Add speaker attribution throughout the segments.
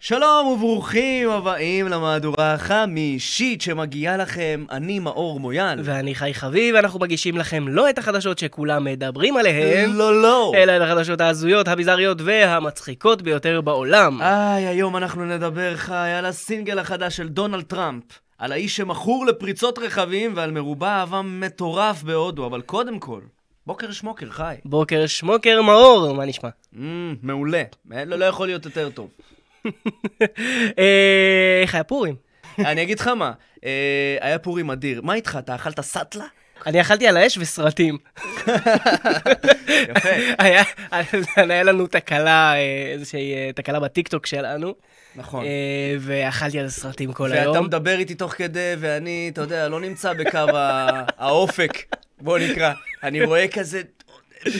Speaker 1: שלום וברוכים הבאים למהדורה החמישית שמגיעה לכם, אני מאור מויאל.
Speaker 2: ואני חי חביב, אנחנו מגישים לכם לא את החדשות שכולם מדברים עליהן,
Speaker 1: לא, לא.
Speaker 2: אלא את החדשות ההזויות, הביזריות והמצחיקות ביותר בעולם.
Speaker 1: היי, היום אנחנו נדבר חי על הסינגל החדש של דונלד טראמפ. על האיש שמכור לפריצות רכבים ועל מרובע אהבה מטורף בהודו, אבל קודם כל, בוקר שמוקר, חי.
Speaker 2: בוקר שמוקר מאור, מה נשמע?
Speaker 1: Mm, מעולה. אין- לא, לא יכול להיות יותר טוב.
Speaker 2: אה, איך היה פורים?
Speaker 1: אני אגיד לך מה, אה, היה פורים אדיר. מה איתך, אתה אכלת סאטלה?
Speaker 2: אני אכלתי על האש וסרטים.
Speaker 1: יפה.
Speaker 2: היה היה לנו תקלה, אה, איזושהי אה, תקלה בטיקטוק שלנו,
Speaker 1: נכון.
Speaker 2: אה, ואכלתי על סרטים כל
Speaker 1: ואתה
Speaker 2: היום.
Speaker 1: מדבר איתי תוך כדי, ואני, אתה יודע, לא נמצא בקו ה- האופק, בוא נקרא. אני רואה כזה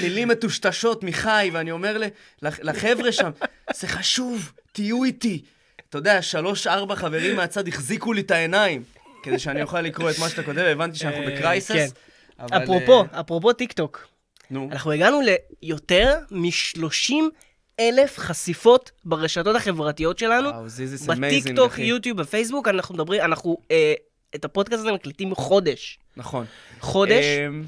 Speaker 1: מילים מטושטשות מחי, ואני אומר ל- לח- לחבר'ה שם, זה חשוב, תהיו איתי. אתה יודע, שלוש, ארבע חברים מהצד החזיקו לי את העיניים, כדי שאני אוכל לקרוא את מה שאתה כותב, הבנתי שאנחנו
Speaker 2: אה, כן.
Speaker 1: בקרייסס. אבל,
Speaker 2: אפרופו,
Speaker 1: אה,
Speaker 2: אפרופו טיקטוק,
Speaker 1: נו,
Speaker 2: אנחנו הגענו ליותר מ-30 אלף חשיפות ברשתות החברתיות שלנו.
Speaker 1: וואו, this is amazing,
Speaker 2: בטיקטוק,
Speaker 1: אחי.
Speaker 2: יוטיוב, בפייסבוק, אנחנו מדברים, אנחנו אה, את הפודקאסט הזה מקליטים חודש.
Speaker 1: נכון.
Speaker 2: חודש?
Speaker 1: אמ,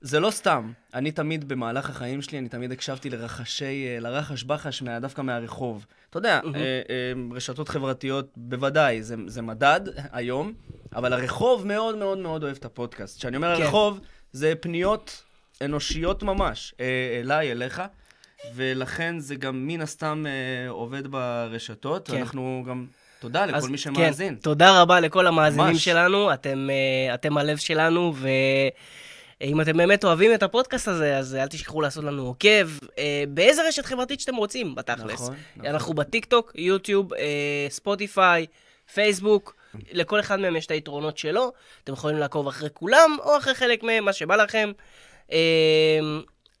Speaker 1: זה לא סתם. אני תמיד, במהלך החיים שלי, אני תמיד הקשבתי לרחשי, אה, לרחש בחש מה- דווקא מהרחוב. אתה יודע,
Speaker 2: מהמם.
Speaker 1: אה, אה, רשתות חברתיות, בוודאי, זה- זה מדד היום, אבל הרחוב מאוד מאוד מאוד אוהב את הפודקאסט. כשאני אומר
Speaker 2: כן.
Speaker 1: הרחוב, זה פניות אנושיות ממש, אה, אליי, אליך. ולכן זה גם מן הסתם אה, עובד ברשתות,
Speaker 2: כן.
Speaker 1: ואנחנו גם, תודה לכל
Speaker 2: אז
Speaker 1: מי
Speaker 2: כן,
Speaker 1: שמאזין.
Speaker 2: תודה רבה לכל המאזינים
Speaker 1: ממש.
Speaker 2: שלנו, אתם, אה, אתם הלב שלנו, ואם אתם באמת אוהבים את הפודקאסט הזה, אז אל תשכחו לעשות לנו עוקב, אה, באיזה רשת חברתית שאתם רוצים, בתכלס.
Speaker 1: נכון, נכון.
Speaker 2: אנחנו בטיקטוק, יוטיוב, אה, ספוטיפיי, פייסבוק. לכל אחד מהם יש את היתרונות שלו, אתם יכולים לעקוב אחרי כולם, או אחרי חלק מהם, מה שבא לכם. אה,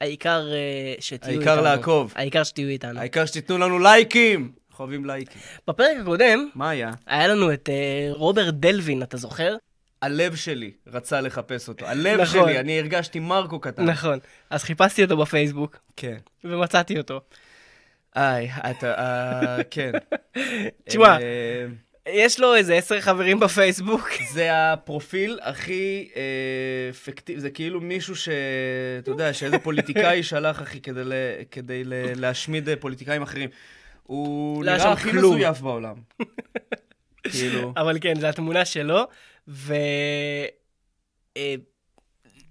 Speaker 2: העיקר אה, שתהיו איתנו.
Speaker 1: העיקר לעקוב.
Speaker 2: העיקר שתהיו איתנו.
Speaker 1: העיקר שתיתנו לנו לייקים! אנחנו אוהבים לייקים.
Speaker 2: בפרק הקודם,
Speaker 1: מה היה?
Speaker 2: היה לנו את אה, רוברט דלווין, אתה זוכר?
Speaker 1: אה. הלב שלי רצה לחפש אותו. הלב
Speaker 2: נכון.
Speaker 1: שלי, אני הרגשתי מרקו קטן.
Speaker 2: נכון. אז חיפשתי אותו בפייסבוק,
Speaker 1: כן.
Speaker 2: ומצאתי אותו.
Speaker 1: איי, אתה, אה, כן.
Speaker 2: תשמע.
Speaker 1: אה,
Speaker 2: יש לו איזה עשר חברים בפייסבוק.
Speaker 1: זה הפרופיל הכי אה, פיקטיבי, זה כאילו מישהו ש... אתה יודע, שאיזה פוליטיקאי שלח, אחי, כדי, ל... כדי ל... להשמיד אה, פוליטיקאים אחרים. הוא
Speaker 2: לא היה
Speaker 1: נראה
Speaker 2: שם
Speaker 1: הכי
Speaker 2: כלום.
Speaker 1: מזויף בעולם. כאילו...
Speaker 2: אבל כן, זו התמונה שלו, ו... אה,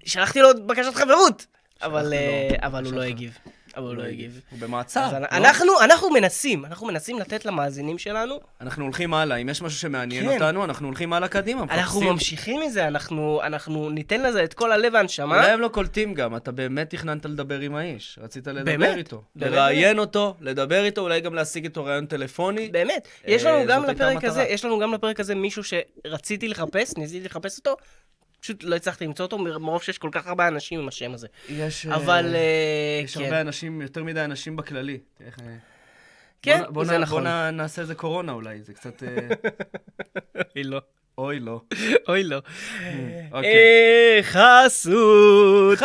Speaker 2: שלחתי לו בקשת חברות! אבל,
Speaker 1: לו
Speaker 2: אה, אבל הוא
Speaker 1: בקשת
Speaker 2: לא
Speaker 1: חברות.
Speaker 2: הגיב. אבל הוא לא הגיב.
Speaker 1: הוא
Speaker 2: אז
Speaker 1: במעצר.
Speaker 2: אנ-
Speaker 1: לא?
Speaker 2: אנחנו, אנחנו מנסים, אנחנו מנסים לתת למאזינים שלנו,
Speaker 1: אנחנו הולכים הלאה, אם יש משהו שמעניין
Speaker 2: כן.
Speaker 1: אותנו, אנחנו הולכים הלאה קדימה.
Speaker 2: אנחנו
Speaker 1: מחפשים.
Speaker 2: ממשיכים מזה, אנחנו, אנחנו ניתן לזה את כל הלב והנשמה.
Speaker 1: אולי הם לא קולטים גם, אתה באמת תכננת לדבר עם האיש. רצית לדבר
Speaker 2: באמת?
Speaker 1: איתו.
Speaker 2: באמת,
Speaker 1: לראיין אותו, לדבר איתו, אולי גם להשיג איתו ראיון טלפוני.
Speaker 2: באמת,
Speaker 1: אה,
Speaker 2: יש לנו
Speaker 1: זאת
Speaker 2: גם
Speaker 1: הייתה
Speaker 2: לפרק
Speaker 1: המטרה.
Speaker 2: הזה, יש לנו גם לפרק הזה מישהו שרציתי לחפש, ניסיתי לחפש אותו, פשוט לא הצלחתי למצוא אותו, מ- מרוב שיש כל כך הרבה אנשים עם השם הזה.
Speaker 1: יש... אה,
Speaker 2: אבל אה,
Speaker 1: יש הרבה
Speaker 2: כן,
Speaker 1: אנשים, יותר מדי אנשים בכללי. איך, אה,
Speaker 2: כן,
Speaker 1: בוא נ- בוא
Speaker 2: זה
Speaker 1: נ-
Speaker 2: נכון.
Speaker 1: בוא נ- נעשה איזה קורונה אולי, זה קצת... אה,
Speaker 2: אוי לא,
Speaker 1: אוי, לא.
Speaker 2: אוי לא.
Speaker 1: אוקיי.
Speaker 2: אה, חסות,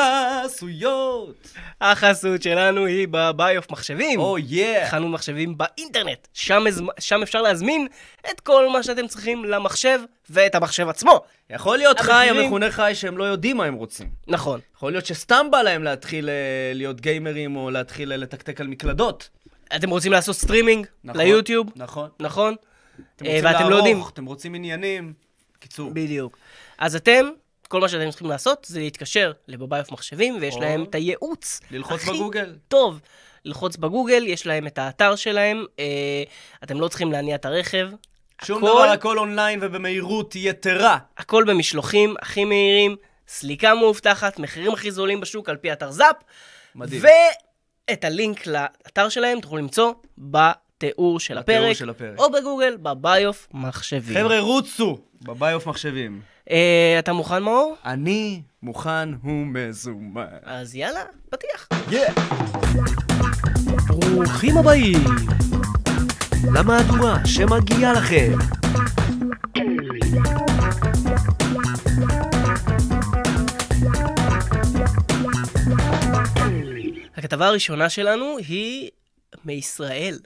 Speaker 1: חסויות!
Speaker 2: החסות שלנו היא בביוף מחשבים.
Speaker 1: או יא!
Speaker 2: חנות מחשבים באינטרנט, שם, הזמ- שם אפשר להזמין את כל מה שאתם צריכים למחשב ואת המחשב עצמו.
Speaker 1: יכול להיות חי,
Speaker 2: המחירים-
Speaker 1: המכונה חי, שהם לא יודעים מה הם רוצים.
Speaker 2: נכון.
Speaker 1: יכול להיות שסתם בא להם להתחיל אה, להיות גיימרים, או להתחיל אה, לתקתק על מקלדות.
Speaker 2: אתם רוצים לעשות סטרימינג
Speaker 1: נכון,
Speaker 2: ליוטיוב,
Speaker 1: נכון.
Speaker 2: נכון?
Speaker 1: אתם
Speaker 2: אה,
Speaker 1: רוצים
Speaker 2: ואתם לא יודעים.
Speaker 1: לערוך, אתם רוצים עניינים. קיצור.
Speaker 2: בדיוק. אז אתם, כל מה שאתם צריכים לעשות זה להתקשר לבביוף מחשבים, ויש
Speaker 1: או.
Speaker 2: להם את הייעוץ.
Speaker 1: ללחוץ
Speaker 2: הכי
Speaker 1: בגוגל.
Speaker 2: טוב. ללחוץ בגוגל, יש להם את האתר שלהם, אה, אתם לא צריכים להניע את הרכב.
Speaker 1: שום
Speaker 2: הכל-
Speaker 1: דבר, הכל אונליין ובמהירות יתרה.
Speaker 2: הכל במשלוחים הכי מהירים, סליקה מאובטחת, מחירים הכי זולים בשוק על פי אתר זאפ.
Speaker 1: מדהים.
Speaker 2: ואת הלינק לאתר שלהם תוכלו למצוא בתיאור של
Speaker 1: בתיאור
Speaker 2: הפרק,
Speaker 1: של הפרק.
Speaker 2: או בגוגל, בביוף מחשבים.
Speaker 1: חבר'ה, רוצו! בביוף מחשבים.
Speaker 2: אה, אתה מוכן, מאור?
Speaker 1: אני מוכן ומזומן.
Speaker 2: אז יאללה, פתיח.
Speaker 1: יא!
Speaker 2: ברוכים הבאים
Speaker 1: למהדורה שמגיעה לכם.
Speaker 2: הכתבה הראשונה שלנו היא מישראל.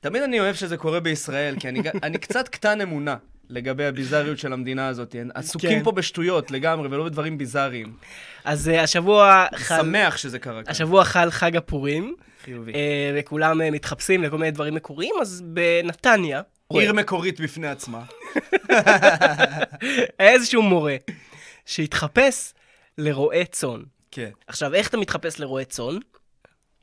Speaker 1: תמיד אני אוהב שזה קורה בישראל, כי אני ג- אני קצת קטן אמונה לגבי הביזאריות של המדינה הזאת. הם עסוקים
Speaker 2: כן.
Speaker 1: פה בשטויות לגמרי, ולא בדברים ביזאריים.
Speaker 2: אז אה, השבוע חל...
Speaker 1: שמח שזה קרה כאן.
Speaker 2: השבוע חל חג הפורים,
Speaker 1: חיובי.
Speaker 2: אה, וכולם אה, מתחפשים לכל מיני דברים מקוריים, אז בנתניה,
Speaker 1: עיר מקורית בפני עצמה.
Speaker 2: היה איזשהו מורה שהתחפש לרועה צאן.
Speaker 1: כן.
Speaker 2: עכשיו, איך אתה מתחפש לרועה צאן?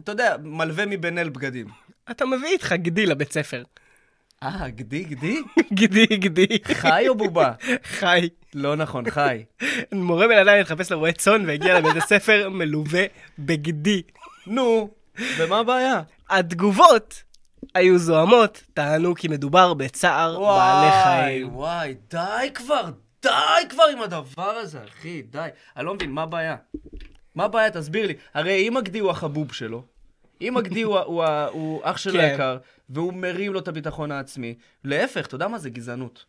Speaker 1: אתה יודע, מלווה מבן אל בגדים.
Speaker 2: אתה מביא איתך גדי לבית ספר.
Speaker 1: אה, גדי, גדי?
Speaker 2: גדי, גדי,
Speaker 1: חי או בובה?
Speaker 2: חי.
Speaker 1: לא נכון, חי.
Speaker 2: מורה בן אדם התחפש לרועה צאן והגיע לבית הספר מלווה בגדי.
Speaker 1: נו, ומה הבעיה?
Speaker 2: התגובות היו זוהמות, טענו כי מדובר בצער בעלי חיים.
Speaker 1: וואי, די כבר, די כבר עם הדבר הזה, אחי, די. אני לא מבין, מה הבעיה? מה הבעיה? תסביר לי. הרי אם הגדי הוא החבוב שלו, אם הגדי הוא, ה- הוא, ה- הוא אח שלו
Speaker 2: כן.
Speaker 1: היקר, והוא מרים לו את הביטחון העצמי, להפך, אתה יודע מה זה גזענות.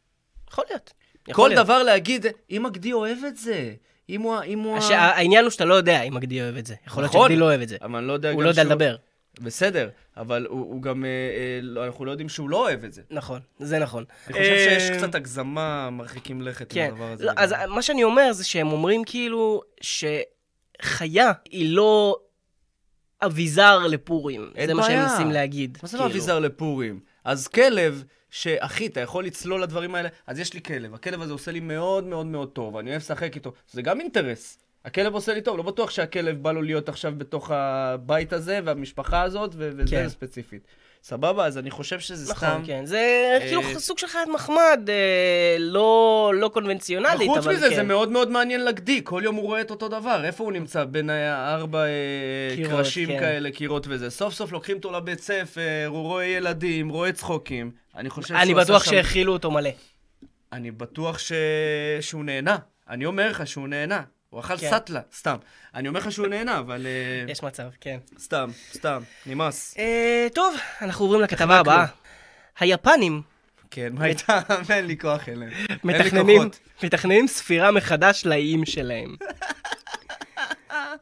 Speaker 2: יכול להיות. יכול
Speaker 1: כל
Speaker 2: להיות.
Speaker 1: דבר להגיד, אם הגדי אוהב את זה, אם הוא... ה- אם הוא ה-"
Speaker 2: הש- העניין הוא שאתה לא יודע אם הגדי אוהב את זה. יכול להיות
Speaker 1: נכון.
Speaker 2: שהגדי לא אוהב את זה.
Speaker 1: אבל אני לא יודע
Speaker 2: הוא
Speaker 1: גם
Speaker 2: לא יודע
Speaker 1: שהוא-
Speaker 2: לדבר.
Speaker 1: בסדר, אבל הוא, הוא גם... אה, אה, לא- אנחנו לא יודעים שהוא לא אוהב את זה.
Speaker 2: נכון, זה נכון.
Speaker 1: אני חושב שיש
Speaker 2: אה,
Speaker 1: קצת הגזמה מרחיקים לכת עם
Speaker 2: כן.
Speaker 1: הדבר הזה.
Speaker 2: לא, אז
Speaker 1: לגמרי.
Speaker 2: מה שאני אומר זה שהם אומרים כאילו שחיה היא לא אביזר לפורים.
Speaker 1: אין
Speaker 2: זה מה שהם
Speaker 1: בעיה.
Speaker 2: מנסים להגיד.
Speaker 1: מה זה לא
Speaker 2: כאילו.
Speaker 1: אביזר לפורים? אז כלב, שאחי, אתה יכול לצלול לדברים האלה, אז יש לי כלב, הכלב הזה עושה לי מאוד מאוד מאוד טוב, אני אוהב לשחק איתו, זה גם אינטרס. הכלב עושה לי טוב, לא בטוח שהכלב בא לו להיות עכשיו בתוך הבית הזה, והמשפחה הזאת, ו- וזה
Speaker 2: כן.
Speaker 1: ספציפית. סבבה, אז אני חושב שזה סתם...
Speaker 2: נכון, כן. זה
Speaker 1: אה,
Speaker 2: כאילו סוג של חיית מחמד, אה, לא לא קונבנציונלית, אבל כן.
Speaker 1: חוץ מזה, זה מאוד מאוד מעניין לגדי, כל יום הוא רואה את אותו דבר, איפה הוא נמצא? בין הארבע אה,
Speaker 2: קירות,
Speaker 1: קרשים
Speaker 2: כן.
Speaker 1: כאלה, קירות וזה. סוף סוף לוקחים אותו לבית ספר, הוא רואה ילדים, רואה צחוקים. אני חושב שהוא
Speaker 2: אה, אני
Speaker 1: עשה
Speaker 2: בטוח
Speaker 1: שם-
Speaker 2: שהכילו אותו מלא.
Speaker 1: אני בטוח ש... שהוא נהנה. אני אומר לך שהוא נהנה. הוא אכל
Speaker 2: כן.
Speaker 1: סטלה, סתם. אני אומר לך שהוא נהנה, אבל... אה,
Speaker 2: יש מצב, כן.
Speaker 1: סתם, סתם, נמאס.
Speaker 2: אה, טוב, אנחנו עוברים לכתבה הבאה. היפנים
Speaker 1: כן, מה הייתה? אין לי כוח אליהם. אין לי
Speaker 2: מתכננים,
Speaker 1: כוחות.
Speaker 2: מתכננים ספירה מחדש לאיים שלהם.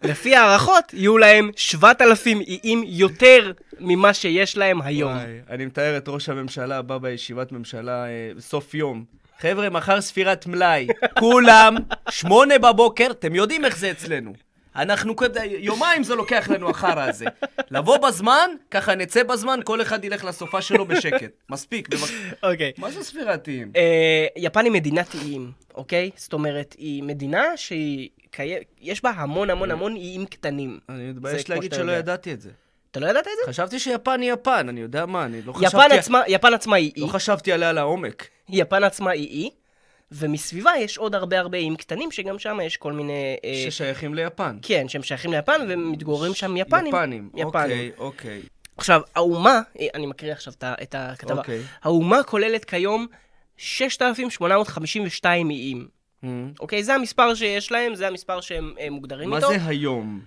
Speaker 2: לפי הערכות, יהיו להם 7,000 איים יותר ממה שיש להם היום.
Speaker 1: וואי, אני מתאר את ראש הממשלה, בא בישיבת ממשלה אה, בסוף יום. חבר'ה, מחר ספירת מלאי. כולם, שמונה בבוקר, אתם יודעים איך זה אצלנו. אנחנו כדי, יומיים זה לוקח לנו החרא הזה. לבוא בזמן, ככה נצא בזמן, כל אחד ילך לסופה שלו בשקט. מספיק. בבק-
Speaker 2: אוקיי.
Speaker 1: מה זה ספירת איים?
Speaker 2: אה, יפן היא מדינת איים, אוקיי? זאת אומרת, היא מדינה שהיא... קי- יש בה המון המון המון איים קטנים.
Speaker 1: אני
Speaker 2: זה
Speaker 1: מתבייש
Speaker 2: כמו
Speaker 1: להגיד
Speaker 2: שאתה
Speaker 1: שלא
Speaker 2: יודע.
Speaker 1: ידעתי את זה.
Speaker 2: אתה לא ידעת את זה?
Speaker 1: חשבתי שיפן היא יפן, אני יודע מה, אני לא
Speaker 2: יפן
Speaker 1: חשבתי...
Speaker 2: עצמה- יפן עצמה היא אי.
Speaker 1: לא חשבתי עליה לעומק.
Speaker 2: יפן עצמה היא אי, ומסביבה יש עוד הרבה הרבה איים קטנים, שגם שם יש כל מיני... אה,
Speaker 1: ששייכים ליפן.
Speaker 2: כן, שהם שייכים ליפן, ומתגוררים שם יפנים.
Speaker 1: יפנים,
Speaker 2: יפנים.
Speaker 1: אוקיי, אוקיי.
Speaker 2: עכשיו, האומה, אה, אני מקריא עכשיו את ה- את הכתבה,
Speaker 1: אוקיי.
Speaker 2: האומה כוללת כיום 6,852 איים.
Speaker 1: Mm.
Speaker 2: אוקיי, זה המספר שיש להם, זה המספר שהם אה, מוגדרים
Speaker 1: מה
Speaker 2: איתו.
Speaker 1: זה היום?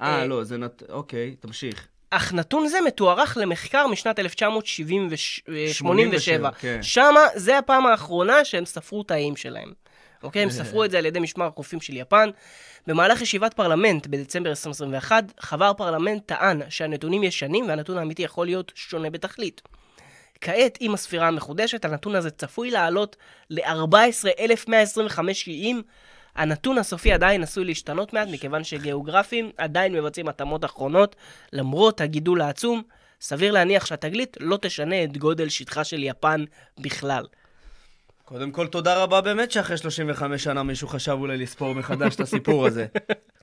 Speaker 2: אה,
Speaker 1: אה, לא, זה נת... אוקיי, תמשיך.
Speaker 2: אך נתון זה מתוארך למחקר משנת 1987.
Speaker 1: כן.
Speaker 2: שמה, זה הפעם האחרונה שהם ספרו את האיים שלהם. אוקיי? הם ספרו את זה על ידי משמר החופים של יפן. במהלך ישיבת פרלמנט בדצמבר 2021, חבר פרלמנט טען שהנתונים ישנים והנתון האמיתי יכול להיות שונה בתכלית. כעת, עם הספירה המחודשת, הנתון הזה צפוי לעלות ל-14,125 איים. הנתון הסופי עדיין עשוי להשתנות מעט, מכיוון שגיאוגרפים עדיין מבצעים התאמות אחרונות, למרות הגידול העצום. סביר להניח שהתגלית לא תשנה את גודל שטחה של יפן בכלל.
Speaker 1: קודם כל, תודה רבה באמת שאחרי 35 שנה מישהו חשב אולי לספור מחדש את הסיפור הזה.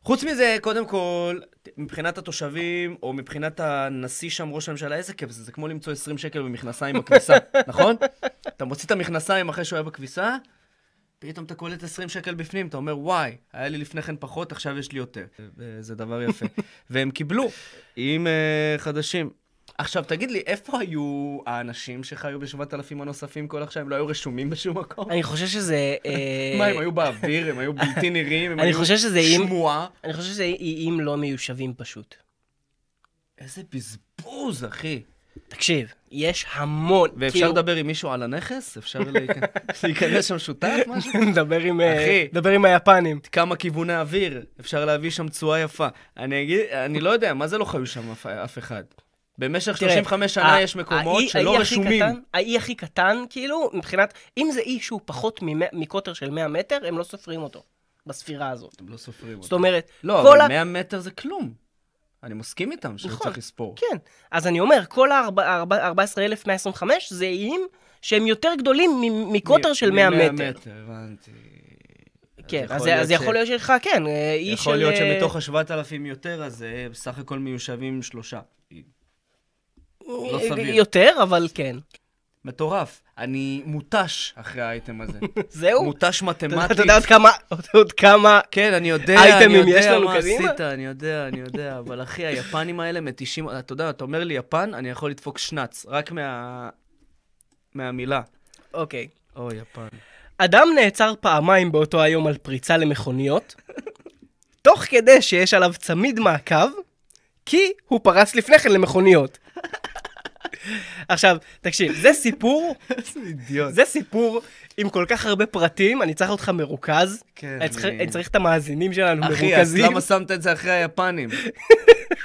Speaker 1: חוץ מזה, קודם כל, מבחינת התושבים, או מבחינת הנשיא שם, ראש הממשלה, איזה כיף זה, זה כמו למצוא 20 שקל במכנסיים בכביסה, נכון? אתה מוציא את המכנסיים אחרי שהוא היה בכביסה, פתאום אתה קולט 20 שקל בפנים, אתה אומר, וואי, היה לי לפני כן פחות, עכשיו יש לי יותר. אה, זה דבר יפה. והם קיבלו עם אה, חדשים. עכשיו, תגיד לי, איפה היו האנשים שחיו בשבעת אלפים הנוספים כל עכשיו? הם לא היו רשומים בשום מקום?
Speaker 2: אני חושב שזה... אה,
Speaker 1: מה, הם היו באוויר? הם היו בלתי נראים? הם
Speaker 2: אני
Speaker 1: היו
Speaker 2: חושב שזה אם-
Speaker 1: שמועה?
Speaker 2: אני חושב שזה איים לא מיושבים פשוט.
Speaker 1: איזה בזבוז, אחי.
Speaker 2: תקשיב, יש המון...
Speaker 1: ואפשר
Speaker 2: כאילו-
Speaker 1: לדבר עם מישהו על הנכס? אפשר להיכנס- להיכנס שם שותף, משהו?
Speaker 2: נדבר עם... אה,
Speaker 1: אחי.
Speaker 2: נדבר עם היפנים.
Speaker 1: כמה כיווני אוויר, אפשר להביא שם תשואה יפה. אני אגיד, אני לא יודע, מה זה לא חיו שם אף, אף אחד? במשך
Speaker 2: תראה,
Speaker 1: 35 שנה
Speaker 2: ה-
Speaker 1: יש מקומות
Speaker 2: האי-
Speaker 1: שלא
Speaker 2: האי הכי
Speaker 1: רשומים.
Speaker 2: קטן- האי הכי קטן, כאילו, מבחינת, אם זה אי שהוא פחות ממא- מקוטר של 100 מטר, הם לא סופרים אותו בספירה הזאת.
Speaker 1: הם לא סופרים
Speaker 2: זאת אומרת,
Speaker 1: לא,
Speaker 2: כל ה-
Speaker 1: אבל 100 מטר זה כלום. אני מסכים איתם
Speaker 2: נכון.
Speaker 1: שצריך לספור.
Speaker 2: כן. אז אני אומר, כל ה-14,125 זה איים שהם יותר גדולים מ- מקוטר
Speaker 1: מ-
Speaker 2: של 100
Speaker 1: מ- 100
Speaker 2: מטר.
Speaker 1: הבנתי.
Speaker 2: כן,
Speaker 1: יכול
Speaker 2: אז
Speaker 1: להיות
Speaker 2: זה- אז
Speaker 1: ש-
Speaker 2: יכול להיות שיש לך, כן, אה, אי של...
Speaker 1: יכול להיות
Speaker 2: אה,
Speaker 1: שמתוך ה-7,000 יותר, אז אה, בסך הכל מיושבים שלושה. לא
Speaker 2: אה,
Speaker 1: סביר.
Speaker 2: יותר, אבל כן.
Speaker 1: מטורף. אני מותש אחרי האייטם הזה.
Speaker 2: זהו?
Speaker 1: מותש מתמטית.
Speaker 2: אתה יודע עוד כמה, עוד כמה...
Speaker 1: כן, אני יודע, אני
Speaker 2: אייטמים יש
Speaker 1: יודע
Speaker 2: לנו
Speaker 1: מה
Speaker 2: קדימה?
Speaker 1: עשית, אני יודע, אני יודע, אבל אחי, היפנים האלה מתישים, אתה יודע, אתה אומר לי יפן, אני יכול לדפוק שנץ, רק מה... מהמילה.
Speaker 2: אוקיי.
Speaker 1: אוי, יפן.
Speaker 2: אדם נעצר פעמיים באותו היום על פריצה למכוניות, תוך כדי שיש עליו צמיד מעקב, כי הוא פרץ לפני כן למכוניות. עכשיו, תקשיב, זה סיפור,
Speaker 1: איזה אידיוט.
Speaker 2: זה סיפור עם כל כך הרבה פרטים, אני צריך אותך מרוכז.
Speaker 1: כן,
Speaker 2: אני צריך,
Speaker 1: אני-
Speaker 2: אני צריך את המאזינים שלנו
Speaker 1: אחי, אז
Speaker 2: מרוכזים.
Speaker 1: למה שמת את זה אחרי היפנים?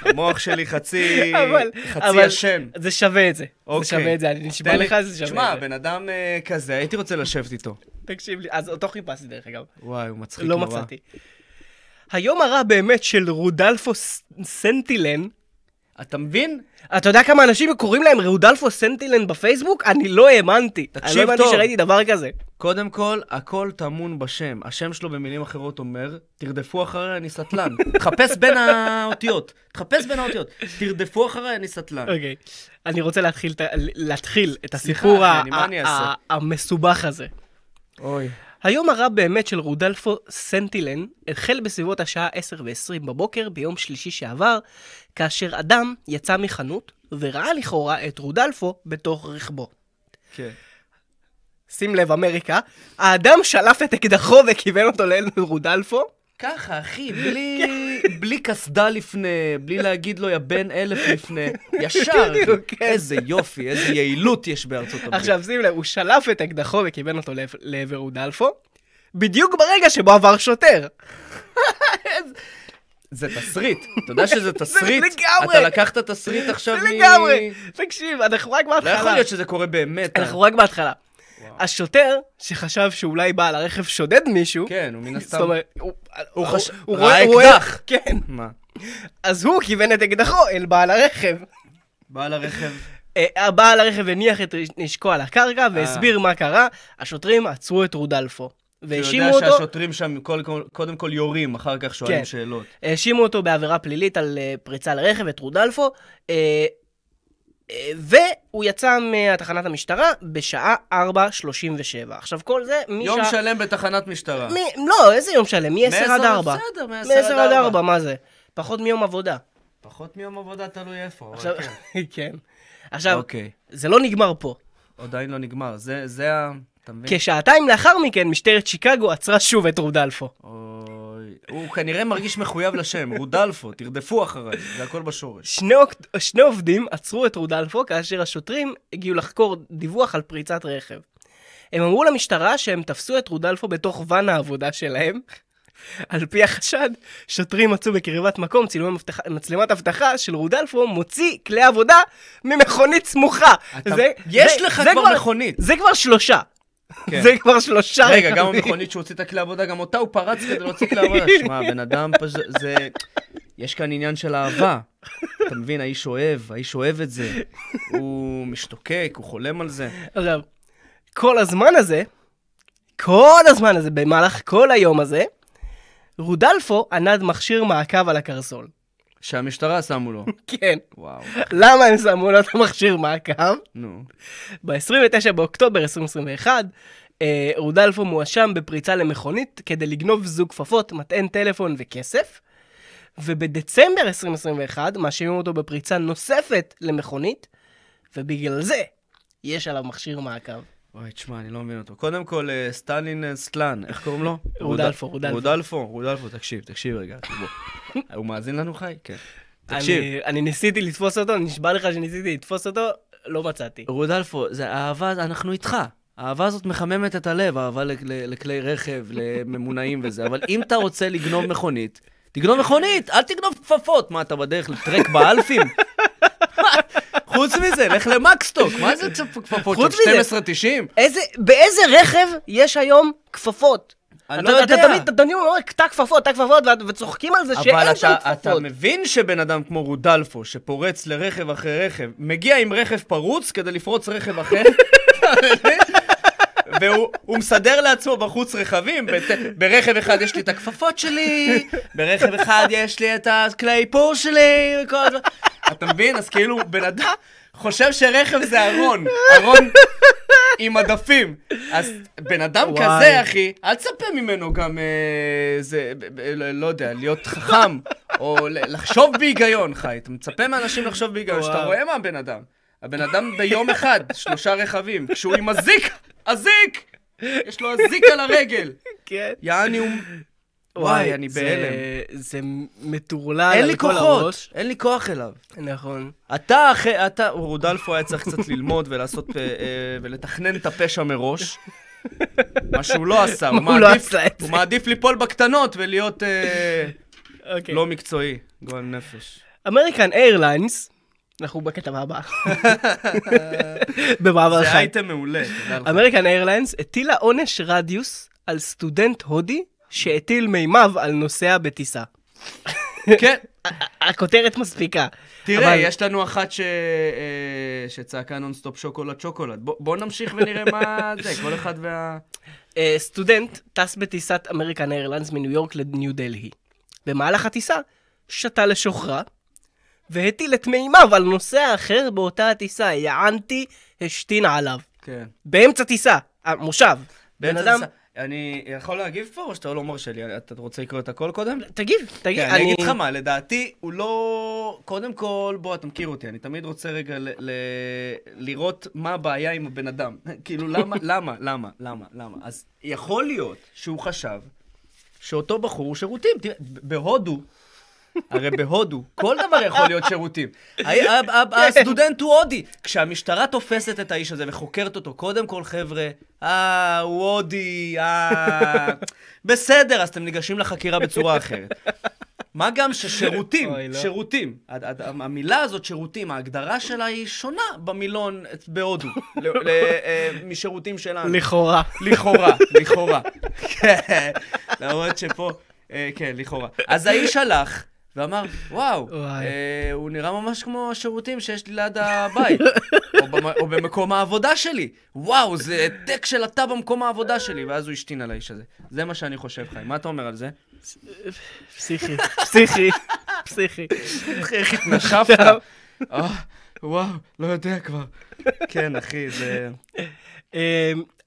Speaker 1: המוח שלי חצי...
Speaker 2: אבל-
Speaker 1: חצי
Speaker 2: אבל
Speaker 1: ישן.
Speaker 2: זה שווה את זה. זה
Speaker 1: אוקיי.
Speaker 2: שווה את זה, אני נשבע
Speaker 1: תן לי-
Speaker 2: לך, זה שווה
Speaker 1: שמע,
Speaker 2: את זה.
Speaker 1: בן אדם אה, כזה, הייתי רוצה לשבת איתו.
Speaker 2: תקשיב לי, אז אותו חיפשתי דרך אגב.
Speaker 1: וואי, הוא מצחיק
Speaker 2: לא
Speaker 1: נורא.
Speaker 2: מצאתי. היום הרע באמת של רודלפו ס- סנטילן,
Speaker 1: אתה מבין?
Speaker 2: אתה יודע כמה אנשים קוראים להם רודלפו סנטילן בפייסבוק? אני לא האמנתי. אני
Speaker 1: תקשיב
Speaker 2: לא האמנתי
Speaker 1: טוב.
Speaker 2: שראיתי דבר כזה.
Speaker 1: קודם כל, הכל טמון בשם. השם שלו במילים אחרות אומר, תרדפו אחריי, אני סטלן. תחפש בין האותיות. תחפש בין האותיות. תרדפו אחריי, אני סטלן.
Speaker 2: אוקיי. אני רוצה להתחיל את ה- להתחיל את
Speaker 1: סליחה,
Speaker 2: הסיפור ה-
Speaker 1: אחי, מה אני
Speaker 2: ה-
Speaker 1: אעשה?
Speaker 2: ה- המסובך הזה.
Speaker 1: אוי.
Speaker 2: היום הרע באמת של רודלפו סנטילן החל בסביבות השעה 10 ו-20 בבוקר ביום שלישי שעבר, כאשר אדם יצא מחנות וראה לכאורה את רודלפו בתוך רכבו.
Speaker 1: כן.
Speaker 2: שים לב, אמריקה, האדם שלף את אקדחו וכיוון אותו לעין רודלפו.
Speaker 1: ככה, אחי, בלי,
Speaker 2: כן.
Speaker 1: בלי קסדה לפני, בלי להגיד לו, יא בן אלף לפני. ישר,
Speaker 2: בדיוק,
Speaker 1: אחי.
Speaker 2: כן.
Speaker 1: איזה יופי, איזה יעילות יש בארצות הברית.
Speaker 2: עכשיו שים לב, הוא שלף את אקדחו וכיוון אותו לעבר- לעבר רודלפו, בדיוק ברגע שבו עבר שוטר.
Speaker 1: זה תסריט, אתה יודע שזה תסריט?
Speaker 2: לגמרי.
Speaker 1: אתה לקחת תסריט עכשיו
Speaker 2: זה
Speaker 1: מ...
Speaker 2: לגמרי. תקשיב, אנחנו רק
Speaker 1: לא
Speaker 2: בהתחלה.
Speaker 1: יכול להיות שזה קורה באמת. אה.
Speaker 2: אנחנו רק בהתחלה.
Speaker 1: וואו.
Speaker 2: השוטר, שחשב שאולי בעל הרכב שודד מישהו,
Speaker 1: כן, הוא מן הסתם...
Speaker 2: זאת אומרת, הוא-
Speaker 1: הוא חש-
Speaker 2: הוא
Speaker 1: ראה
Speaker 2: רואה- הוא רואה-
Speaker 1: אקדח.
Speaker 2: כן,
Speaker 1: מה?
Speaker 2: אז הוא כיוון את אקדחו אל בעל הרכב.
Speaker 1: בעל הרכב.
Speaker 2: אה, בעל הרכב הניח את נשקו על הקרקע והסביר מה קרה, השוטרים עצרו את רודלפו. והאשימו
Speaker 1: אתה יודע
Speaker 2: אותו,
Speaker 1: שהשוטרים שם כל- קודם כל יורים, אחר כך
Speaker 2: כן.
Speaker 1: שואלים שאלות.
Speaker 2: האשימו אותו בעבירה פלילית על אה, פריצה לרכב, את רודלפו, אה, אה, והוא יצא מתחנת המשטרה בשעה 4.37. עכשיו כל זה משעה...
Speaker 1: יום שלם בתחנת משטרה.
Speaker 2: מ... לא, איזה יום שלם? מ-10 עד 4.
Speaker 1: בסדר,
Speaker 2: מ-10 עד 4, מה זה? פחות מיום עבודה.
Speaker 1: פחות מיום עבודה, תלוי איפה. אבל
Speaker 2: עכשיו,
Speaker 1: כן.
Speaker 2: כן. עכשיו,
Speaker 1: אוקיי,
Speaker 2: זה לא נגמר פה.
Speaker 1: עדיין לא נגמר. זה זה ה... אתה
Speaker 2: כן.
Speaker 1: מבין?
Speaker 2: כשעתיים לאחר מכן, משטרת שיקגו עצרה שוב את רודלפו.
Speaker 1: אוי, הוא כנראה מרגיש מחויב לשם, רודלפו, תרדפו אחריי, זה הכל בשורש.
Speaker 2: שני, עוק- שני עובדים עצרו את רודלפו כאשר השוטרים הגיעו לחקור דיווח על פריצת רכב. הם אמרו למשטרה שהם תפסו את רודלפו בתוך ואן העבודה שלהם. על פי החשד, שוטרים מצאו בקרבת מקום צילומי מבטח, מצלמת אבטחה של רודלפו מוציא כלי עבודה ממכונית סמוכה.
Speaker 1: אתה- יש לך כבר מכונית.
Speaker 2: זה כבר שלושה.
Speaker 1: כן.
Speaker 2: זה כבר שלושה
Speaker 1: רגע, גם
Speaker 2: רכבים.
Speaker 1: המכונית שהוא הוציא את הכלי עבודה, גם אותה הוא פרץ כדי להוציא כלי עבודה. שמע, בן אדם פשוט, זה... יש כאן עניין של אהבה. אתה מבין, האיש אוהב, האיש אוהב את זה. הוא משתוקק, הוא חולם על זה.
Speaker 2: עכשיו, כל הזמן הזה, כל הזמן הזה, במהלך כל היום הזה, רודלפו ענד מכשיר מעקב על הקרסול.
Speaker 1: שהמשטרה שמו לו.
Speaker 2: כן.
Speaker 1: וואו,
Speaker 2: למה הם שמו לו את המכשיר מעקב?
Speaker 1: נו.
Speaker 2: ב-29 באוקטובר 2021, אה, רודלפו מואשם בפריצה למכונית כדי לגנוב זוג כפפות, מטען טלפון וכסף. ובדצמבר 2021 מאשימים אותו בפריצה נוספת למכונית, ובגלל זה יש עליו מכשיר מעקב.
Speaker 1: אוי, תשמע, אני לא מבין אותו. קודם כל, אה, סטלין אה, סטלן, איך קוראים לו?
Speaker 2: רודלפו, רודלפו.
Speaker 1: רודלפו, רודלפו, תקשיב, תקשיב רגע. בוא. הוא מאזין לנו, חי? כן. תקשיב,
Speaker 2: אני, אני ניסיתי לתפוס אותו, נשבע לך שניסיתי לתפוס אותו, לא מצאתי.
Speaker 1: רודלפו, זה אהבה, אנחנו איתך. האהבה הזאת מחממת את הלב, אהבה ל- ל- לכלי רכב, לממונעים וזה, אבל אם אתה רוצה לגנוב מכונית, תגנוב מכונית, אל תגנוב כפפות. מה, אתה בדרך לטרק באלפים? חוץ מזה, לך למקסטוק, מה זה צפ- כפפות
Speaker 2: חוץ
Speaker 1: של
Speaker 2: מזה.
Speaker 1: 12.90?
Speaker 2: איזה, באיזה רכב יש היום כפפות?
Speaker 1: אני
Speaker 2: אתה-
Speaker 1: לא יודע.
Speaker 2: אתה תמיד, אתה תמיד אומר, תא כפפות, תא כפפות, ואת- וצוחקים על זה
Speaker 1: אבל
Speaker 2: שאין שם
Speaker 1: אתה, אתה
Speaker 2: כפפות.
Speaker 1: מבין שבן אדם כמו רודלפו, שפורץ לרכב אחרי רכב, מגיע עם רכב פרוץ כדי לפרוץ רכב אחר? והוא הוא מסדר לעצמו בחוץ רכבים, בת, ברכב אחד יש לי את הכפפות שלי, ברכב אחד יש לי את הכלי איפור שלי, וכל הזמן. אתה מבין? אז כאילו, בן אדם חושב שרכב זה ארון, ארון עם מדפים. אז בן אדם
Speaker 2: וואי.
Speaker 1: כזה, אחי, אל תצפה ממנו גם, אה, זה, ב- ב- לא לא יודע, להיות חכם, או ל- לחשוב בהיגיון, חי. אתה מצפה מאנשים לחשוב בהיגיון, שאתה
Speaker 2: וואו.
Speaker 1: רואה מה הבן אדם. הבן אדם ביום אחד, שלושה רכבים, כשהוא עם אזיק, אזיק! יש לו אזיק על הרגל.
Speaker 2: כן.
Speaker 1: יעני הוא... וואי, אני בהלם.
Speaker 2: זה מטורלל
Speaker 1: אין לי כוחות, אין לי כוח אליו.
Speaker 2: נכון.
Speaker 1: אתה, אחרי, אתה, רודלפו היה צריך קצת ללמוד ולעשות, אה, אה, ולתכנן את הפשע מראש. מה שהוא לא עשה, הוא
Speaker 2: מה הוא לא
Speaker 1: מעדיף,
Speaker 2: עשה את
Speaker 1: הוא
Speaker 2: זה.
Speaker 1: מעדיף ליפול בקטנות ולהיות אה,
Speaker 2: אוקיי.
Speaker 1: לא מקצועי, גועל נפש.
Speaker 2: אמריקן איירליינס, אנחנו בכתבה הבאה. במעבר
Speaker 1: זה
Speaker 2: חי.
Speaker 1: אייטם מעולה, תודה לך.
Speaker 2: אמריקן איירליינס הטילה עונש רדיוס על סטודנט הודי שהטיל מימיו על נוסע בטיסה.
Speaker 1: כן,
Speaker 2: הכותרת מספיקה.
Speaker 1: תראה,
Speaker 2: אבל-
Speaker 1: יש לנו אחת ש- אה, שצעקה נונסטופ שוקולד שוקולד. בוא- בוא נמשיך ונראה מה זה, כל אחד וה...
Speaker 2: אה, סטודנט טס בטיסת אמריקן איירליינס מניו יורק לניו דלהי. במהלך הטיסה שתה לשוכרה והטיל את מימיו על נוסע אחר באותה הטיסה. יענתי, השתין עליו.
Speaker 1: כן.
Speaker 2: באמצע טיסה, המושב. בן
Speaker 1: באמצע
Speaker 2: אדם...
Speaker 1: זה- אני יכול להגיב פה או שאתה לא מרשה לי? אתה רוצה לקרוא את הכל קודם?
Speaker 2: תגיב, תגיב.
Speaker 1: כן, אני אגיד לך מה, לדעתי הוא לא... קודם כל, בוא, אתה מכיר אותי, אני תמיד רוצה רגע ל- ל- לראות מה הבעיה עם הבן אדם. כאילו, למה, למה, למה, למה, למה? אז יכול להיות שהוא חשב שאותו בחור הוא שירותים. תראה, ב- בהודו, הרי בהודו, כל דבר יכול להיות שירותים. ה- ה- ה- הסטודנט הוא הודי. כשהמשטרה תופסת את האיש הזה וחוקרת אותו, קודם כל, חבר'ה, אה, הוא הודי, אה... בסדר, אז אתם ניגשים לחקירה בצורה אחרת. מה גם ששירותים,
Speaker 2: אוי, לא.
Speaker 1: שירותים, הד- הד- המילה הזאת, שירותים, ההגדרה שלה היא שונה במילון בהודו, ל- ל- אה, משירותים שלנו.
Speaker 2: לכאורה.
Speaker 1: לכאורה, לכאורה. כן, למרות שפה, אה, כן, לכאורה. אז האיש הלך ואמר, וואו,
Speaker 2: וואי.
Speaker 1: אה, הוא נראה ממש כמו השירותים שיש לי ליד הבית, או במ- או במקום העבודה שלי. וואו, זה העתק של התא במקום העבודה שלי, ואז הוא השתין על האיש הזה. זה מה שאני חושב, חיים. מה אתה אומר על זה?
Speaker 2: פסיכי, פסיכי, פסיכי.
Speaker 1: איך התנשפת? אה, וואו, לא יודע כבר. כן, אחי, זה...
Speaker 2: אמ,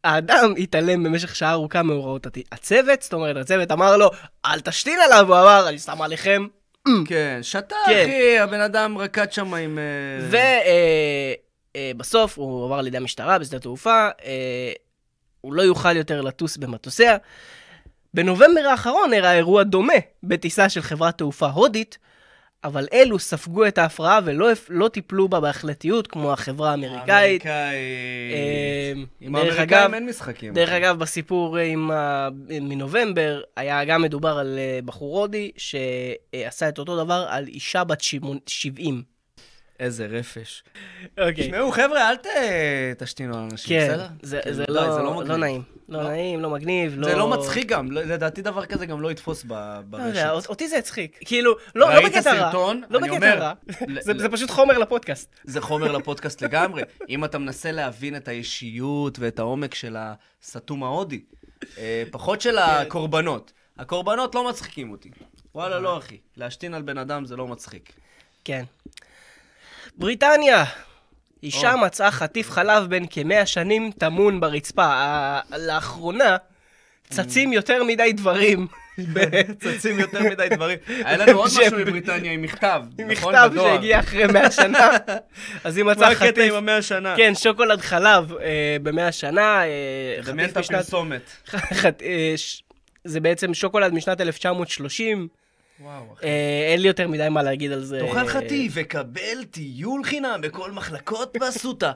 Speaker 2: האדם התעלם במשך שעה ארוכה מהוראות הת- הצוות, זאת אומרת, הצוות אמר לו, אל תשתין עליו, הוא אמר, אני שם עליכם.
Speaker 1: כן, שתה,
Speaker 2: כן.
Speaker 1: אחי, הבן אדם רקד שם עם... אה,
Speaker 2: ובסוף אה, הוא עבר לידי המשטרה בשדה התעופה, אה, הוא לא יוכל יותר לטוס במטוסיה. בנובמבר האחרון אירע אירוע דומה בטיסה של חברת תעופה הודית, אבל אלו ספגו את ההפרעה ולא הפ- לא טיפלו בה בהחלטיות כמו החברה האמריקאית.
Speaker 1: אמריקאי.
Speaker 2: אמ,
Speaker 1: עם
Speaker 2: דרך
Speaker 1: האמריקאים
Speaker 2: אגב-
Speaker 1: אין משחקים.
Speaker 2: דרך אגב, בסיפור אה, עם ה... מנובמבר, היה גם מדובר על אה, בחור הודי שעשה את אותו דבר על אישה בת שמון- 70.
Speaker 1: איזה רפש.
Speaker 2: אוקיי.
Speaker 1: תשמעו, חבר'ה, אל ת- תשתינו על אנשים,
Speaker 2: כן,
Speaker 1: בסדר?
Speaker 2: זה-
Speaker 1: כן,
Speaker 2: זה
Speaker 1: די,
Speaker 2: לא
Speaker 1: מגניב.
Speaker 2: לא נעים. לא
Speaker 1: לא.
Speaker 2: נעים, לא מגניב, לא...
Speaker 1: זה לא מצחיק גם, לא- לדעתי דבר כזה גם לא יתפוס ב-
Speaker 2: לא יודע,
Speaker 1: ברשת.
Speaker 2: אותי זה הצחיק. כאילו, לא לא
Speaker 1: ראית
Speaker 2: בקטע רע.
Speaker 1: סרטון?
Speaker 2: לא
Speaker 1: אני
Speaker 2: בקטע
Speaker 1: אומר,
Speaker 2: רע.
Speaker 1: ל-
Speaker 2: זה
Speaker 1: ל-
Speaker 2: זה פשוט חומר לפודקאסט.
Speaker 1: זה חומר לפודקאסט לגמרי. אם אתה מנסה להבין את האישיות ואת העומק של הסתום ההודי, אה, פחות
Speaker 2: כן.
Speaker 1: של הקורבנות. הקורבנות לא מצחיקים אותי. וואלה, לא, אחי. להשתין על בן אדם זה לא מצחיק.
Speaker 2: כן. בריטניה! אישה
Speaker 1: או.
Speaker 2: מצאה חטיף חלב בן כמאה שנים טמון ברצפה. ה- לאחרונה
Speaker 1: Mm.
Speaker 2: צצים יותר מדי דברים.
Speaker 1: צצים יותר מדי דברים. היה לנו עוד
Speaker 2: ש-
Speaker 1: משהו מבריטניה עם מכתב,
Speaker 2: עם
Speaker 1: נכון?
Speaker 2: מכתב
Speaker 1: בדואר.
Speaker 2: שהגיע אחרי 100 שנה. אז היא
Speaker 1: מה
Speaker 2: מצאה
Speaker 1: הקטע
Speaker 2: חטיף,
Speaker 1: עם המאה שנה?
Speaker 2: כן, שוקולד חלב אה, במאה שנה. אה,
Speaker 1: דמיין את
Speaker 2: חטיף משנת-
Speaker 1: הפרסומת.
Speaker 2: חט- אה, ש- זה בעצם שוקולד משנת 1930.
Speaker 1: וואו, אחי.
Speaker 2: אה, אין לי יותר מדי מה להגיד על זה.
Speaker 1: תאכל
Speaker 2: אה,
Speaker 1: חטיף וקבל טיול חינם בכל מחלקות באסותא.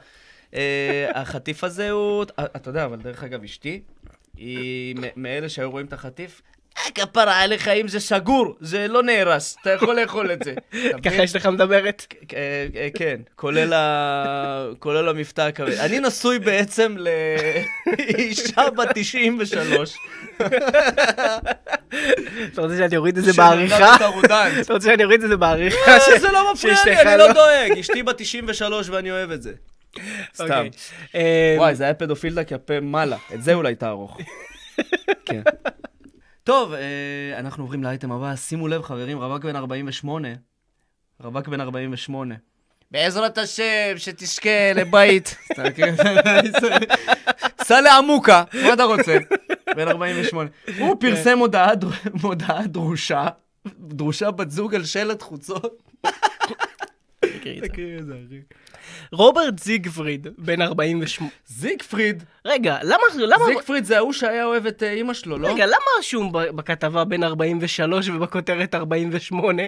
Speaker 1: אה, החטיף הזה הוא... אתה יודע, אבל דרך אגב, אשתי, היא מ- מאלה שהיו רואים את החטיף. "אה, כפרה עליך אם זה סגור, זה לא נהרס, אתה יכול לאכול את זה. אתה מבין?
Speaker 2: ככה יש לך מדברת?
Speaker 1: אה, אה, כן, כולל ה- כולל המבטא הכבד. אני נשוי בעצם לאישה בת 93. כן.
Speaker 2: אתה רוצה שאני אוריד את זה
Speaker 1: שנולדה
Speaker 2: בעריכה?
Speaker 1: בטרודנט.
Speaker 2: אתה רוצה שאני אוריד את זה בעריכה?
Speaker 1: אה,
Speaker 2: ש-
Speaker 1: זה לא מפריע לי,
Speaker 2: שאשתך
Speaker 1: אני לא דואג, אשתי בת 93 ואני אוהב את זה. סתם.
Speaker 2: אוקיי. אה,
Speaker 1: וואי, זה היה פדופילדה כלפי מעלה, את זה אולי תערוך. כן. טוב, אה, אנחנו עוברים לאייטם הבא. שימו לב, חברים, רווק בן 48. רווק בן 48. בעזרת השם, שתזכה לבית. אתה מכיר? סע לעמוקה, מה אתה רוצה? בן 48. הוא פרסם הודעה דר- מודעה דרושה, דרושה בת זוג על שלט חוצות.
Speaker 2: תקריא את זה. רוברט זיגפריד, בן 48.
Speaker 1: זיגפריד.
Speaker 2: רגע, למה... למה...
Speaker 1: זיגפריד זה ההוא שהיה אוהב את אה, אימא שלו, לא?
Speaker 2: רגע, למה רשום ב- בכתבה בין 43 ובכותרת 48?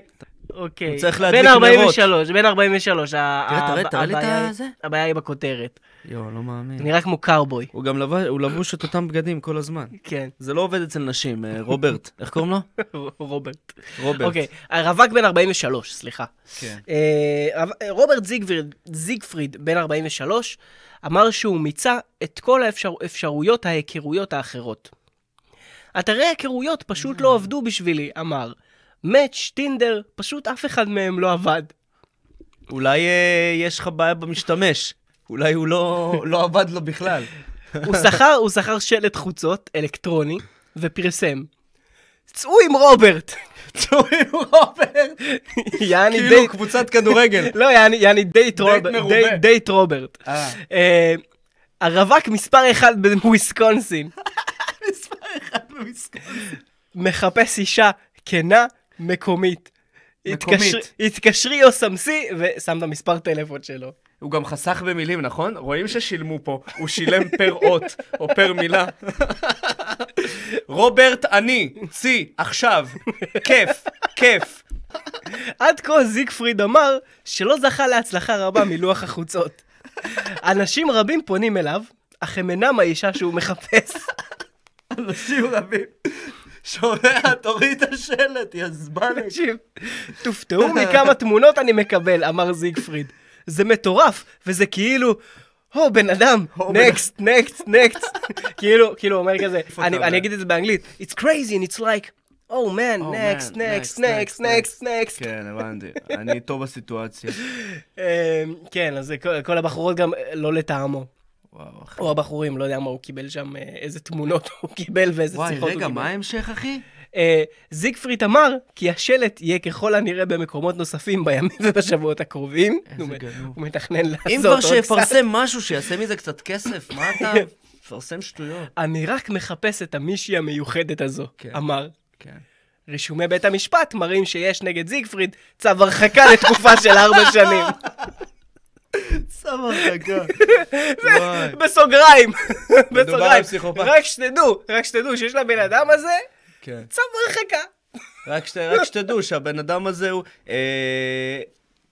Speaker 2: אוקיי.
Speaker 1: צריך להדליק
Speaker 2: בין
Speaker 1: נרות.
Speaker 2: 43, בין 43. ה-
Speaker 1: תראה, תראה,
Speaker 2: ה-
Speaker 1: תראה לי את
Speaker 2: הבעיה היא-
Speaker 1: הזה.
Speaker 2: הבעיה היא בכותרת.
Speaker 1: יואו, לא מאמין.
Speaker 2: זה נראה כמו קארבוי.
Speaker 1: הוא גם לבש, הוא לבוש את אותם בגדים כל הזמן.
Speaker 2: כן,
Speaker 1: זה לא עובד אצל נשים, אה, רוברט. איך קוראים לו?
Speaker 2: רוברט.
Speaker 1: רוברט.
Speaker 2: אוקיי, הרווק בן 43, סליחה.
Speaker 1: כן.
Speaker 2: אה, רב- רוברט זיגפריד, זיגפריד, בן 43, אמר שהוא מיצה את כל האפשרויות ההיכרויות האחרות. אתרי היכרויות פשוט
Speaker 1: אה.
Speaker 2: לא עבדו בשבילי, אמר. מאץ', טינדר, פשוט אף אחד מהם לא עבד.
Speaker 1: אולי אה, יש לך בעיה במשתמש. אולי הוא לא, לא עבד לו בכלל.
Speaker 2: הוא שכר, הוא שכר שלט חוצות אלקטרוני, ופרסם. צאו עם רוברט!
Speaker 1: צורים רוברט.
Speaker 2: יעני
Speaker 1: כאילו
Speaker 2: דייט...
Speaker 1: קבוצת כדורגל.
Speaker 2: לא, יעני- יעני דייט רוברט.
Speaker 1: מרובה.
Speaker 2: דייט- דייט רוברט.
Speaker 1: אה.
Speaker 2: אה, הרווק מספר אחת בוויסקונסין. מחפש אישה כנה, מקומית.
Speaker 1: מקומית.
Speaker 2: התקשרי- התקשרי או סמסי, ושם את המספר טלפון שלו.
Speaker 1: הוא גם חסך במילים, נכון? רואים ששילמו פה. הוא שילם פר אות, או פר מילה. רוברט, אני, צי, עכשיו. כיף, כיף.
Speaker 2: עד כה זיגפריד אמר שלא זכה להצלחה רבה מלוח החוצות. אנשים רבים פונים אליו, אך הם אינם האישה שהוא מחפש.
Speaker 1: אנשים רבים. שומע, תוריד את השלט, יא זבאלה.
Speaker 2: תקשיב, תופתעו מכמה תמונות אני מקבל, אמר זיגפריד. זה מטורף, וזה כאילו, הו, בן אדם,
Speaker 1: הו, בן
Speaker 2: נקסט, נקסט, נקסט. כאילו, כאילו, אומר כזה,
Speaker 1: אתה
Speaker 2: אני
Speaker 1: אומר?
Speaker 2: אני אגיד את זה באנגלית, It's crazy and it's like, Oh man,
Speaker 1: Oh,
Speaker 2: next,
Speaker 1: man,
Speaker 2: next,
Speaker 1: next,
Speaker 2: next,
Speaker 1: next,
Speaker 2: next, next.
Speaker 1: כן, הבנתי. אני איתו בסיטואציה.
Speaker 2: אמ, כן, אז זה כל- כל הבחורות גם אה, לא לטעמו.
Speaker 1: וואו, אחי.
Speaker 2: או הבחורים, לא יודע מה הוא קיבל שם, אה, איזה תמונות הוא קיבל ואיזה
Speaker 1: וואי,
Speaker 2: שיחות הוא קיבל.
Speaker 1: רגע, מה ההמשך, אחי?
Speaker 2: אה, זיגפריד אמר כי השלט יהיה ככל הנראה במקומות נוספים בימים ובשבועות הקרובים.
Speaker 1: איזה
Speaker 2: הוא מ-
Speaker 1: גנוב.
Speaker 2: הוא מתכנן לעשות
Speaker 1: אם כבר
Speaker 2: עוד קצת.
Speaker 1: שיפרסם משהו, שיעשה מזה קצת כסף, מה אתה... מפרסם שטויות.
Speaker 2: אני רק מחפש את המישהי המיוחדת הזו,
Speaker 1: כן.
Speaker 2: אמר.
Speaker 1: כן.
Speaker 2: רישומי בית המשפט מראים שיש נגד זיגפריד צו הרחקה לתקופה של ארבע שנים.
Speaker 1: סבבה, רגע. וואי.
Speaker 2: בסוגריים,
Speaker 1: מדובר על
Speaker 2: בסוגריים.
Speaker 1: פסיכופת.
Speaker 2: רק שתדעו, רק שתדעו שיש לבן אדם הזה
Speaker 1: כן.
Speaker 2: צו הרחקה.
Speaker 1: רק שת- רק שתדעו שהבן אדם הזה הוא... אה,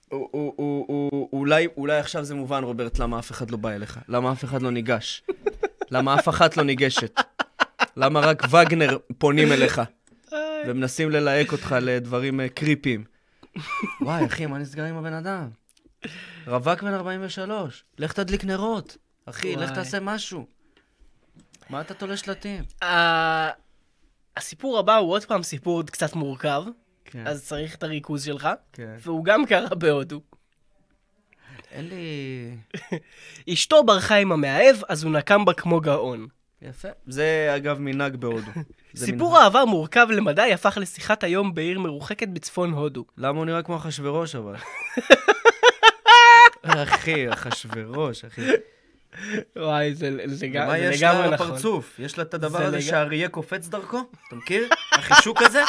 Speaker 1: הוא- הוא- הוא- הוא- אולי אולי עכשיו זה מובן, רוברט, למה אף אחד לא בא אליך? למה אף אחד לא ניגש? למה אף אחת לא ניגשת? למה רק וגנר פונים אליך? ומנסים ללהק אותך לדברים אה, קריפיים. וואי, אחי, מה נסגר עם הבן אדם? רווק בן 43, לך תדליק נרות. אחי, לך
Speaker 2: וואי.
Speaker 1: תעשה משהו. מה אתה תולה שלטים?
Speaker 2: ה- הסיפור הבא הוא עוד פעם סיפור קצת מורכב,
Speaker 1: כן,
Speaker 2: אז צריך את הריכוז שלך.
Speaker 1: כן.
Speaker 2: והוא גם קרה בהודו.
Speaker 1: אין לי...
Speaker 2: אשתו ברחה עם המאהב, אז הוא נקם בה כמו גאון.
Speaker 1: יפה. זה, אגב, מנהג בהודו. זה
Speaker 2: סיפור
Speaker 1: מנהג.
Speaker 2: אהבה מורכב למדי הפך לשיחת היום בעיר מרוחקת בצפון הודו.
Speaker 1: למה הוא נראה כמו אחשוורוש, אבל? אחי, אחשוורוש, אחי.
Speaker 2: וואי, זה, זה, גם,
Speaker 1: מה
Speaker 2: זה
Speaker 1: יש
Speaker 2: לגמרי
Speaker 1: לה
Speaker 2: נכון.
Speaker 1: לפרצוף? יש לה את הדבר
Speaker 2: זה
Speaker 1: הזה
Speaker 2: לג-
Speaker 1: שהאריה קופץ דרכו? אתה מכיר? החישוק הזה?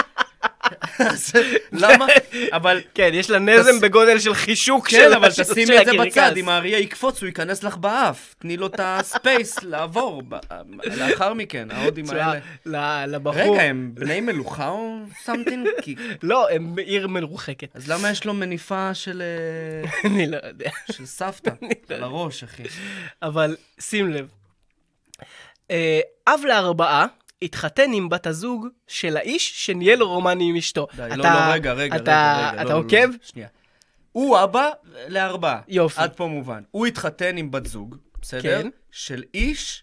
Speaker 1: אז למה? אבל...
Speaker 2: כן, יש לה נזם
Speaker 1: תס-
Speaker 2: בגודל של חישוק
Speaker 1: כן,
Speaker 2: של
Speaker 1: אבל
Speaker 2: של-
Speaker 1: תשימי
Speaker 2: של
Speaker 1: את זה
Speaker 2: הקרקס.
Speaker 1: בצד, אם האריה יקפוץ, הוא ייכנס לך באף. תני לו את הספייס לעבור ב- לאחר מכן, ההודים
Speaker 2: תשמע,
Speaker 1: האלה.
Speaker 2: ל- לבחור.
Speaker 1: רגע, הם בני מלוכה או סמטינג?
Speaker 2: לא, הם בעיר מרוחקת.
Speaker 1: אז למה יש לו מניפה של... אה,
Speaker 2: אני לא יודע.
Speaker 1: של סבתא,
Speaker 2: לא
Speaker 1: על הראש, אחי.
Speaker 2: אבל שים לב. אה, אב לארבעה התחתן עם בת הזוג של האיש שניהל רומני עם אשתו.
Speaker 1: די,
Speaker 2: אתה,
Speaker 1: לא, לא, רגע, רגע,
Speaker 2: אתה,
Speaker 1: רגע, רגע. לא,
Speaker 2: אתה
Speaker 1: לא, לא.
Speaker 2: עוקב?
Speaker 1: שנייה. הוא אבא לארבעה.
Speaker 2: יופי.
Speaker 1: עד פה מובן. הוא התחתן עם בת זוג, בסדר?
Speaker 2: כן.
Speaker 1: של איש,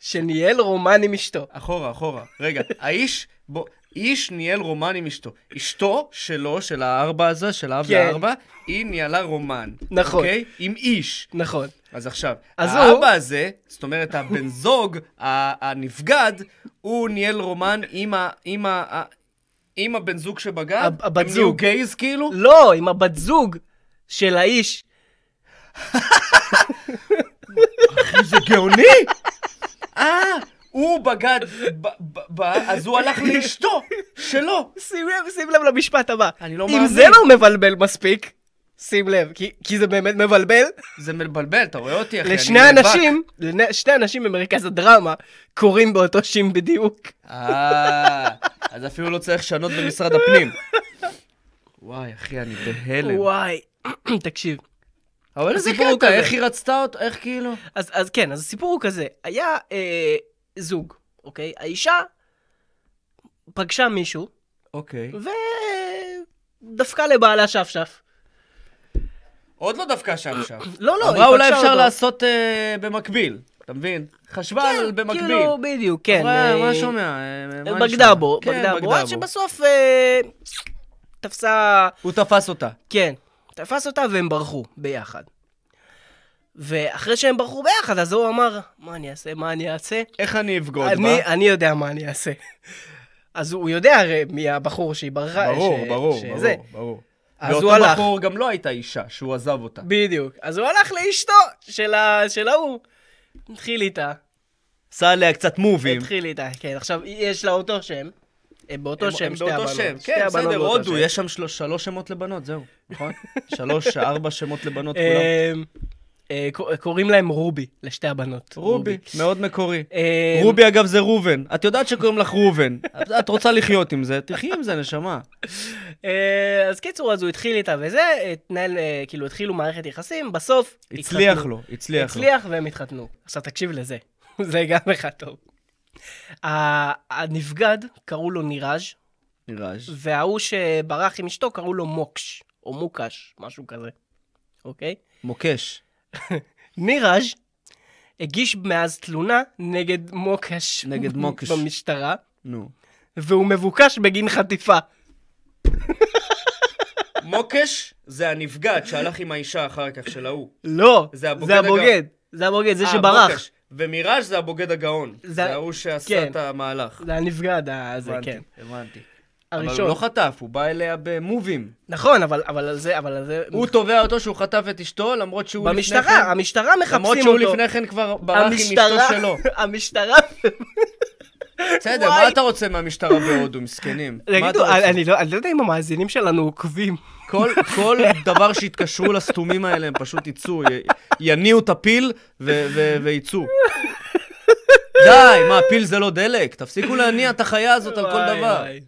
Speaker 2: שניהל רומן עם אשתו.
Speaker 1: אחורה, אחורה. רגע, האיש, בוא, איש ניהל רומן עם אשתו. אשתו שלו, של הארבע הזה, של האב
Speaker 2: כן.
Speaker 1: לארבע, היא ניהלה רומן.
Speaker 2: נכון.
Speaker 1: אוקיי? עם איש.
Speaker 2: נכון.
Speaker 1: אז עכשיו,
Speaker 2: אז
Speaker 1: האבא
Speaker 2: הוא-
Speaker 1: הזה, זאת אומרת, הבן זוג, ה- הנבגד, הוא ניהל רומן עם ה... עם ה... ה- עם הבן זוג שבגד?
Speaker 2: הב- הבת
Speaker 1: הם נהיו
Speaker 2: זוג.
Speaker 1: גייז כאילו?
Speaker 2: לא, עם הבת זוג של האיש.
Speaker 1: זה גאוני! אה, הוא בגד ב- ב- ב- אז הוא הלך לאשתו, שלו.
Speaker 2: שים לב, שים לב למשפט הבא.
Speaker 1: אני לא
Speaker 2: אם
Speaker 1: מאמין.
Speaker 2: זה לא מבלבל מספיק, שים לב, כי, כי זה באמת מבלבל.
Speaker 1: זה מבלבל, אתה רואה אותי, אחי? אני
Speaker 2: לשני
Speaker 1: נאבק.
Speaker 2: אנשים, לשני אנשים במרכז הדרמה, קוראים באותו שם בדיוק.
Speaker 1: אה, אז אפילו לא צריך לשנות במשרד הפנים. וואי, אחי, אני בהלם.
Speaker 2: וואי, תקשיב.
Speaker 1: אבל איזה
Speaker 2: הסיפור הוא
Speaker 1: קטע,
Speaker 2: כזה.
Speaker 1: איך היא רצתה אותו, איך כאילו?
Speaker 2: אז, אז כן, אז הסיפור הוא כזה, היה אה, זוג, אוקיי? האישה פגשה מישהו
Speaker 1: אוקיי.
Speaker 2: ודפקה לבעלה שפשף.
Speaker 1: עוד לא דווקא שם שם.
Speaker 2: לא,
Speaker 1: אמרה
Speaker 2: לא, היא פגשה
Speaker 1: אולי אפשר
Speaker 2: אותו.
Speaker 1: לעשות אה, במקביל, אתה מבין? חשבה על
Speaker 2: כן,
Speaker 1: במקביל.
Speaker 2: כאילו, בדיוק, כן.
Speaker 1: אמרה,
Speaker 2: אה,
Speaker 1: מה שומע? אה, מה נשמע?"
Speaker 2: בגדה בו,
Speaker 1: כן,
Speaker 2: בגדה בו, עד שבסוף אה, תפסה,
Speaker 1: הוא תפס אותה.
Speaker 2: כן, תפס אותה והם ברחו ביחד. ואחרי שהם ברחו ביחד, אז הוא אמר, מה אני אעשה, מה אני אעשה?
Speaker 1: איך אני אבגוד
Speaker 2: אני, אני יודע מה אני אעשה. אז הוא יודע הרי מי הבחור שהיא ברחה.
Speaker 1: ברור,
Speaker 2: אה, ש-
Speaker 1: ברור,
Speaker 2: שזה.
Speaker 1: ברור, ברור.
Speaker 2: אז הוא הלך.
Speaker 1: ואותו בחור גם לא הייתה אישה שהוא עזב אותה.
Speaker 2: בדיוק. אז הוא הלך לאשתו של, ה... של ההוא. התחיל איתה.
Speaker 1: עשה עליה קצת מובים.
Speaker 2: התחיל איתה, כן. עכשיו, יש לה אותו שם. הם באותו
Speaker 1: הם-
Speaker 2: שם,
Speaker 1: הם
Speaker 2: שתי
Speaker 1: באותו
Speaker 2: הבנות.
Speaker 1: שם.
Speaker 2: שתי
Speaker 1: כן,
Speaker 2: הבנות
Speaker 1: בסדר,
Speaker 2: באותו
Speaker 1: הודו,
Speaker 2: שם.
Speaker 1: יש שם שלוש- שלוש שמות לבנות, זהו, נכון? שלוש, ארבע שמות לבנות כולם.
Speaker 2: אמ, אה, ק- קוראים להם רובי, לשתי הבנות.
Speaker 1: רובי, מאוד מקורי.
Speaker 2: אמ,
Speaker 1: רובי, אגב, זה ראובן. את יודעת שקוראים לך ראובן. את- את רוצה לחיות עם זה, תחי עם זה, נשמה.
Speaker 2: אה, אז קיצור, אז הוא התחיל איתה וזה, התנהל, אה, כאילו, התחילו מערכת יחסים, בסוף...
Speaker 1: הצליח
Speaker 2: התחתנו.
Speaker 1: לו, הצליח לו.
Speaker 2: הצליח והם התחתנו. עכשיו תקשיב לזה, זה גם לך טוב. ה- הנבגד, קראו לו ניראז'
Speaker 1: נירז'.
Speaker 2: וההוא שברח עם אשתו קראו לו מוקש, או מוקש, משהו כזה, אוקיי?
Speaker 1: מוקש.
Speaker 2: ניראז' הגיש מאז תלונה נגד מוקש.
Speaker 1: נגד מוקש.
Speaker 2: במשטרה,
Speaker 1: נו.
Speaker 2: והוא מבוקש בגין חטיפה.
Speaker 1: מוקש זה הנפגעת שהלך עם האישה אחר כך, של ההוא.
Speaker 2: לא,
Speaker 1: זה הבוגד
Speaker 2: זה הבוגד, זה הבוגד, זה
Speaker 1: אה,
Speaker 2: שברח.
Speaker 1: מוקש. ומיראז' זה הבוגד הגאון.
Speaker 2: זה-
Speaker 1: זה ההוא שעשה
Speaker 2: כן.
Speaker 1: את המהלך.
Speaker 2: זה הנפגד הזה, כן.
Speaker 1: הבנתי. אבל הוא
Speaker 2: הראשון.
Speaker 1: לא חטף, הוא בא אליה במובים.
Speaker 2: נכון, אבל אבל על זה, אבל על זה...
Speaker 1: הוא תובע אותו שהוא חטף את אשתו, למרות שהוא לפני כן...
Speaker 2: במשטרה, המשטרה מחפשים אותו.
Speaker 1: למרות שהוא לפני כן כבר ברח עם אשתו
Speaker 2: המשטרה-
Speaker 1: שלו.
Speaker 2: המשטרה...
Speaker 1: בסדר,
Speaker 2: וואי.
Speaker 1: מה אתה רוצה מהמשטרה בהודו, מסכנים? מה אתה
Speaker 2: תגידו,
Speaker 1: רוצה?
Speaker 2: אני לא אני לא יודע אם המאזינים שלנו עוקבים.
Speaker 1: כל- כל דבר שיתקשרו לסתומים האלה, הם פשוט יצאו, י- יניעו את הפיל ו- ו- ויצאו. די, מה, פיל זה לא דלק? תפסיקו להניע את החיה הזאת על כל
Speaker 2: וואי,
Speaker 1: דבר.
Speaker 2: וואי.